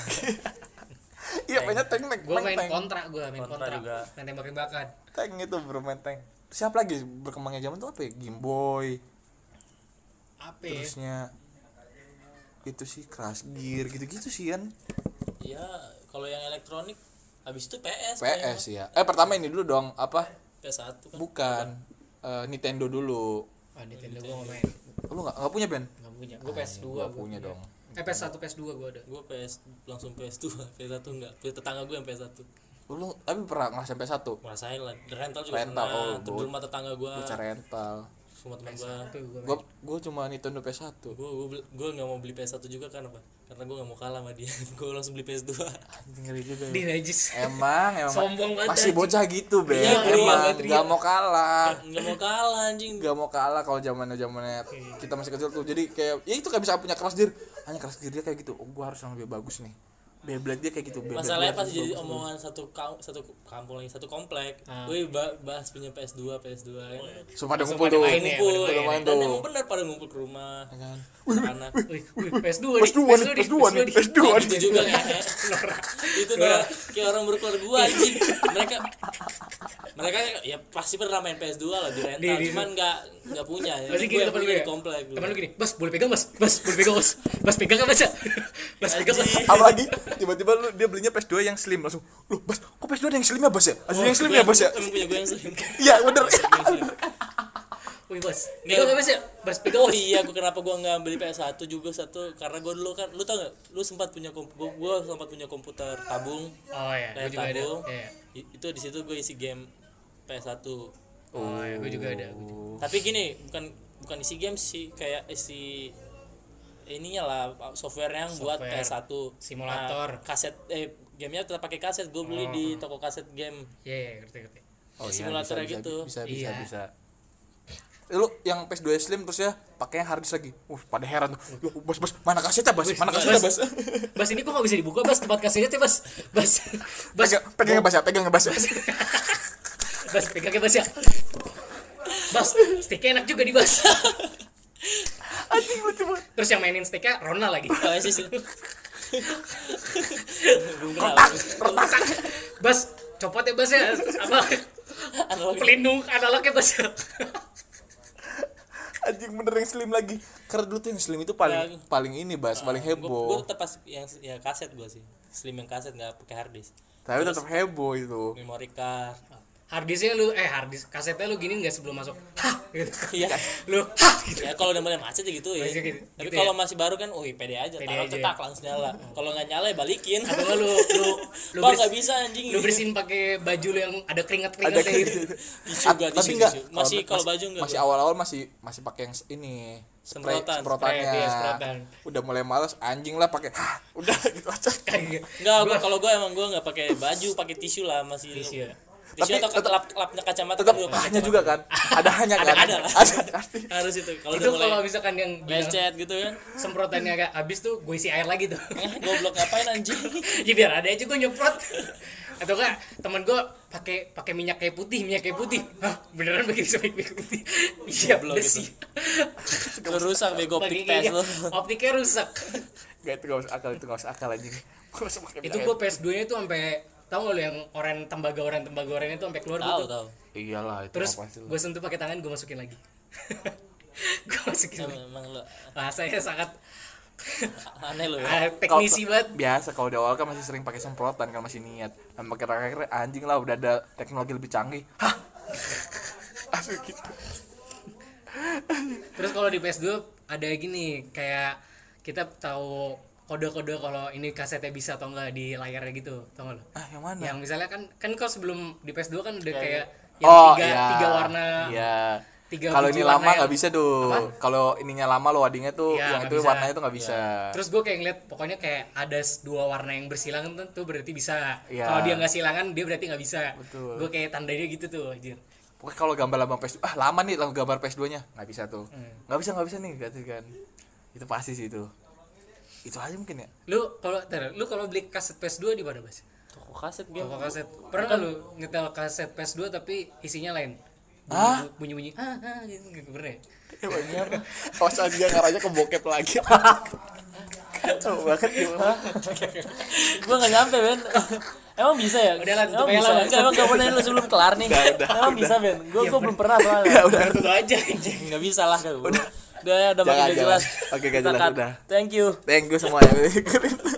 [SPEAKER 2] iya mainnya teng teng
[SPEAKER 3] gue main
[SPEAKER 2] menteng.
[SPEAKER 3] kontra gue main
[SPEAKER 4] Kontra
[SPEAKER 3] kontra,
[SPEAKER 4] juga.
[SPEAKER 3] main tembak-tembakan
[SPEAKER 2] Tank itu bro main tank Siapa lagi berkembangnya zaman tuh apa ya? Game Boy
[SPEAKER 3] apa ya?
[SPEAKER 2] Terusnya Itu sih Crash Gear gitu-gitu sih kan
[SPEAKER 4] ya kalau yang elektronik habis itu PS kayaknya.
[SPEAKER 2] PS ya Eh pertama ini dulu dong Apa?
[SPEAKER 4] PS1 kan
[SPEAKER 2] Bukan Eh, Nintendo dulu
[SPEAKER 3] ah Nintendo gue nggak main
[SPEAKER 2] Lu gak, nggak punya Ben?
[SPEAKER 3] nggak punya gue PS2
[SPEAKER 2] Ah, iya, Gua
[SPEAKER 3] gua
[SPEAKER 2] punya dong
[SPEAKER 3] eh PS1 PS2 gue ada
[SPEAKER 4] gue PS langsung PS2 PS1 enggak tetangga gue yang PS1
[SPEAKER 2] Lu tapi pernah ngerasain PS1?
[SPEAKER 4] ngerasain lah di rental juga
[SPEAKER 2] Rental,
[SPEAKER 4] pernah
[SPEAKER 2] oh,
[SPEAKER 4] Terus di
[SPEAKER 2] gua-
[SPEAKER 4] rumah tetangga gue
[SPEAKER 2] Gua cari rental
[SPEAKER 4] rumah teman gue
[SPEAKER 3] Satu gua main.
[SPEAKER 2] Gua, gua cuma Nintendo PS1
[SPEAKER 4] gue gue gue nggak mau beli PS1 juga kan apa karena gue nggak mau kalah sama dia gue langsung beli PS2
[SPEAKER 2] Anjing ngeri juga
[SPEAKER 3] di
[SPEAKER 2] ya
[SPEAKER 3] najis
[SPEAKER 2] Emang, emang
[SPEAKER 3] Sombong banget,
[SPEAKER 2] Masih
[SPEAKER 3] anjing.
[SPEAKER 2] bocah gitu Ben
[SPEAKER 4] Iya, bro,
[SPEAKER 2] Emang,
[SPEAKER 4] banget,
[SPEAKER 2] gak mau kalah
[SPEAKER 4] nggak mau kalah anjing
[SPEAKER 2] nggak mau kalah kalau zamannya zamannya kita masih kecil tuh jadi kayak ya itu kayak bisa punya kelas dir hanya kelas dir dia kayak gitu oh gua harus yang lebih bagus nih Beyblade dia kayak gitu Beyblade
[SPEAKER 4] masalahnya
[SPEAKER 2] gua
[SPEAKER 4] pas
[SPEAKER 2] harus
[SPEAKER 4] jadi
[SPEAKER 2] bagus.
[SPEAKER 4] omongan satu kau satu kampung lagi satu komplek
[SPEAKER 3] Ah.
[SPEAKER 4] gue bahas punya PS2 PS2 ya.
[SPEAKER 2] sumpah ada
[SPEAKER 3] Langsung
[SPEAKER 2] kumpul
[SPEAKER 3] pada
[SPEAKER 2] tuh
[SPEAKER 3] main ya,
[SPEAKER 4] kumpul
[SPEAKER 3] pada
[SPEAKER 2] main
[SPEAKER 4] iya. dan
[SPEAKER 2] tuh.
[SPEAKER 4] emang benar pada ngumpul ke rumah
[SPEAKER 2] Kan.
[SPEAKER 4] anak
[SPEAKER 3] Wih, wih, PS2 nih,
[SPEAKER 2] PS2 nih,
[SPEAKER 3] nih,
[SPEAKER 2] PS2 nih,
[SPEAKER 3] nih.
[SPEAKER 2] PS2 nih.
[SPEAKER 4] itu juga ya itu tuh kayak orang berkeluarga anjing mereka mereka ya pasti pernah main PS2 lah di rental
[SPEAKER 3] Di- di-
[SPEAKER 4] cuman nggak nggak punya ya
[SPEAKER 3] Pasti
[SPEAKER 4] gue
[SPEAKER 3] gini
[SPEAKER 4] yang
[SPEAKER 3] temen lu
[SPEAKER 4] punya
[SPEAKER 3] ya
[SPEAKER 4] di komplek dulu.
[SPEAKER 3] Temen lu gini Bas boleh pegang bas Bas boleh pegang bas Bas pegang kan bas ya Bas pegang bas
[SPEAKER 2] apalagi tiba-tiba lu dia belinya PS2 yang slim langsung lu bas kok PS2 ada yang slim ya bas ya ada yang slim
[SPEAKER 4] Gua-
[SPEAKER 2] ya bas ya
[SPEAKER 4] emang punya gue yang slim
[SPEAKER 2] iya bener
[SPEAKER 3] Wih bas Pegang kan bas ya Bas pegang
[SPEAKER 4] oh
[SPEAKER 3] bas
[SPEAKER 4] iya gue kenapa gue nggak beli PS1 juga satu karena gue dulu kan lu tau gak lu sempat punya komputer gue sempat punya komputer tabung
[SPEAKER 3] Oh iya
[SPEAKER 4] layar
[SPEAKER 3] Gue juga ada
[SPEAKER 4] tabung
[SPEAKER 3] Iya.
[SPEAKER 4] I- itu di situ gue isi game PS1
[SPEAKER 3] oh ya gue juga ada gua juga.
[SPEAKER 4] tapi gini bukan bukan isi game sih kayak isi ininya lah softwarenya yang buat
[SPEAKER 3] Software.
[SPEAKER 4] PS1
[SPEAKER 3] Simulator. Oh.
[SPEAKER 4] Nah, kaset eh gamenya tetap pakai kaset gue beli di toko kaset game
[SPEAKER 3] Iya, iya, ngerti ngerti
[SPEAKER 4] Ya, simulator
[SPEAKER 2] bisa,
[SPEAKER 4] gitu
[SPEAKER 2] Bisa bisa
[SPEAKER 3] Iya.
[SPEAKER 2] bisa. Eh, lu yang PS2 Slim terus ya pakainya hard disk lagi. Uh, pada heran tuh. Loh, bos, bos, mana kasetnya, Bos? Mana kasetnya, Bos?
[SPEAKER 3] Bas ini kok gak bisa dibuka Bas tempat kasurnya tuh Bas Bas Bas
[SPEAKER 2] Pegang, pegang ya, Bas, ya, pegang ya, Bas. ya.
[SPEAKER 3] Bas pegangnya Bas ya Bas sticknya enak juga di Bas
[SPEAKER 2] Anjing lucu banget.
[SPEAKER 3] Terus yang mainin sticknya Rona lagi
[SPEAKER 4] Apa sih sih?
[SPEAKER 3] Bas copot ya Bas ya Apa
[SPEAKER 4] Analog.
[SPEAKER 3] pelindung analognya Bas ya
[SPEAKER 2] Anjing bener yang Slim lagi. Karena dulu tuh yang Slim itu paling paling ini, Bas, paling
[SPEAKER 4] Gue
[SPEAKER 2] heboh.
[SPEAKER 4] tetap pas yang ya kaset gue sih. Slim yang kaset nggak pakai hard disk.
[SPEAKER 2] Tapi tetap heboh itu.
[SPEAKER 4] Memory card.
[SPEAKER 3] Harddisknya lu eh harddisk kasetnya lu gini nggak sebelum masuk Hah gitu
[SPEAKER 4] Iya.
[SPEAKER 3] Lu hah gitu
[SPEAKER 4] ya kalau udah mulai macet ya gitu ya.
[SPEAKER 3] Masih gitu,
[SPEAKER 4] Tapi
[SPEAKER 3] gitu
[SPEAKER 4] kalau
[SPEAKER 3] ya?
[SPEAKER 4] masih baru kan, wih pede aja.
[SPEAKER 3] Pede
[SPEAKER 4] Taruh
[SPEAKER 3] aja.
[SPEAKER 4] cetak langsung nyala. Kalau nggak nyala ya balikin.
[SPEAKER 3] Atau nggak lu lu lu
[SPEAKER 4] Kok
[SPEAKER 3] beres-
[SPEAKER 4] nggak bisa anjing?
[SPEAKER 3] lu bersihin pakai baju lu yang ada keringat
[SPEAKER 2] Ada
[SPEAKER 3] keringatnya gitu
[SPEAKER 2] gitu.
[SPEAKER 4] Tisu gua,
[SPEAKER 2] Tapi
[SPEAKER 4] tisu,
[SPEAKER 2] enggak.
[SPEAKER 4] tisu. Masih kalau baju enggak.
[SPEAKER 2] Masih awal-awal masih masih pakai yang ini. Spray,
[SPEAKER 4] Semprotan,
[SPEAKER 2] semprotannya.
[SPEAKER 3] spray, iya, semprotan.
[SPEAKER 2] Udah mulai males anjing lah pakai. "Hah," Udah gitu aja.
[SPEAKER 3] Kayak
[SPEAKER 4] Enggak, gua kalau gua emang gua nggak pakai baju, pakai tisu lah masih.
[SPEAKER 3] Tisu ya.
[SPEAKER 4] Tisu
[SPEAKER 2] Tapi
[SPEAKER 4] atau
[SPEAKER 2] tetap-
[SPEAKER 4] lap lapnya kacamata
[SPEAKER 2] tetap
[SPEAKER 4] gua pakai
[SPEAKER 2] hanya juga kan ada hanya kan
[SPEAKER 4] Ada- ada lah.
[SPEAKER 2] ada pasti
[SPEAKER 4] kacamata. harus itu. Kalau
[SPEAKER 3] itu
[SPEAKER 4] udah
[SPEAKER 3] kalau
[SPEAKER 4] mulai
[SPEAKER 3] misalkan yang bilang
[SPEAKER 4] lecet gitu kan.
[SPEAKER 3] semprotannya agak habis tuh gue isi air lagi tuh
[SPEAKER 4] Eh, goblok ngapain anjing?
[SPEAKER 3] ya biar ada aja gue nyemprot atau enggak teman gue pakai pakai minyak kayu putih minyak kayu putih Hah, beneran pakai minyak kayu putih iya
[SPEAKER 4] Goblok
[SPEAKER 3] bersih
[SPEAKER 4] Lu rusak bego
[SPEAKER 3] Pakai
[SPEAKER 4] pick test
[SPEAKER 3] kayak-
[SPEAKER 4] lu.
[SPEAKER 3] optiknya rusak
[SPEAKER 2] nggak itu nggak masuk akal itu nggak masuk akal anjing Gua masuk akal.
[SPEAKER 3] itu gue PS 2 nya tuh sampai tahu nggak lu yang oren tembaga oren tembaga oren itu sampai keluar
[SPEAKER 4] Tahu
[SPEAKER 3] gitu
[SPEAKER 4] tahu.
[SPEAKER 2] iyalah itu
[SPEAKER 3] terus
[SPEAKER 2] mah pasti lah.
[SPEAKER 3] gue sentuh pakai tangan gue masukin lagi gue masukin lagi
[SPEAKER 4] Emang emang lu
[SPEAKER 3] rasanya sangat
[SPEAKER 4] aneh
[SPEAKER 2] Iya.
[SPEAKER 4] lu. ya.
[SPEAKER 3] ah, teknisi banget
[SPEAKER 2] biasa kalau di awal kan masih sering pakai semprotan kan masih niat sama akhir-akhir anjing lah udah ada teknologi lebih canggih hah asli gitu
[SPEAKER 3] Terus kalau di PS2 ada gini kayak kita tahu kode-kode kalau ini kasetnya bisa atau enggak di layarnya gitu, tau nggak lo?
[SPEAKER 2] ah yang mana
[SPEAKER 3] Yang misalnya kan kan kau sebelum di PS2 kan udah kayak yang
[SPEAKER 2] oh
[SPEAKER 3] tiga,
[SPEAKER 2] iya
[SPEAKER 3] tiga warna.
[SPEAKER 2] iya
[SPEAKER 3] tiga
[SPEAKER 2] kalau
[SPEAKER 3] biji
[SPEAKER 2] ini
[SPEAKER 3] warna
[SPEAKER 2] lama
[SPEAKER 3] yang-
[SPEAKER 2] nggak bisa tuh kalau ininya lama lo wadingnya tuh
[SPEAKER 3] Iya,
[SPEAKER 2] yang
[SPEAKER 3] nggak
[SPEAKER 2] itu
[SPEAKER 3] bisa. Iya.
[SPEAKER 2] warnanya tuh nggak bisa
[SPEAKER 3] Terus gue kayak ngeliat pokoknya kayak ada s- dua warna yang bersilangan tuh, tuh berarti bisa.
[SPEAKER 2] Iya.
[SPEAKER 3] Kalau dia nggak silangan dia berarti nggak bisa.
[SPEAKER 2] Betul.
[SPEAKER 3] Gue kayak tandanya gitu tuh, anjir.
[SPEAKER 2] Pokoknya kalau gambar lambang PS2, ah lama nih kalau gambar PS2 nya Nggak bisa tuh
[SPEAKER 3] Hmm.
[SPEAKER 2] Nggak bisa, nggak bisa nih, ganti kan Itu pasti sih itu Itu aja mungkin ya
[SPEAKER 3] Lu kalau ntar, lu kalau beli kaset PS2 di mana, Bas?
[SPEAKER 4] Toko kaset game.
[SPEAKER 3] Toko kaset. Pernah nggak lu nyetel kaset PS2 tapi isinya lain?
[SPEAKER 2] Hah?
[SPEAKER 3] Bunyi-bunyi. Ah, ah, gitu nggak pernah. ya?
[SPEAKER 2] Emangnya apa? Kawasan dia ngarahnya ke bokep lagi Kacau banget gimana
[SPEAKER 4] gua gak nyampe Ben emang bisa ya
[SPEAKER 3] Udah lah, tutup
[SPEAKER 4] emang
[SPEAKER 3] aja
[SPEAKER 4] bisa
[SPEAKER 3] lah,
[SPEAKER 4] Enggak, emang gak mau nanya lu sebelum kelar nih
[SPEAKER 2] Udah, udah,
[SPEAKER 4] emang
[SPEAKER 2] udah.
[SPEAKER 4] bisa Ben gua gua belum pernah soalnya
[SPEAKER 2] Ya udah
[SPEAKER 3] Tutup aja anjing.
[SPEAKER 4] nggak bisa lah kan udah udah udah makin
[SPEAKER 2] Jangan,
[SPEAKER 4] udah
[SPEAKER 2] jangan.
[SPEAKER 4] jelas
[SPEAKER 2] Oke, nggak
[SPEAKER 4] Kita
[SPEAKER 2] jelas,
[SPEAKER 4] cut.
[SPEAKER 2] udah.
[SPEAKER 4] thank you
[SPEAKER 2] Thank you semua yang dengerin.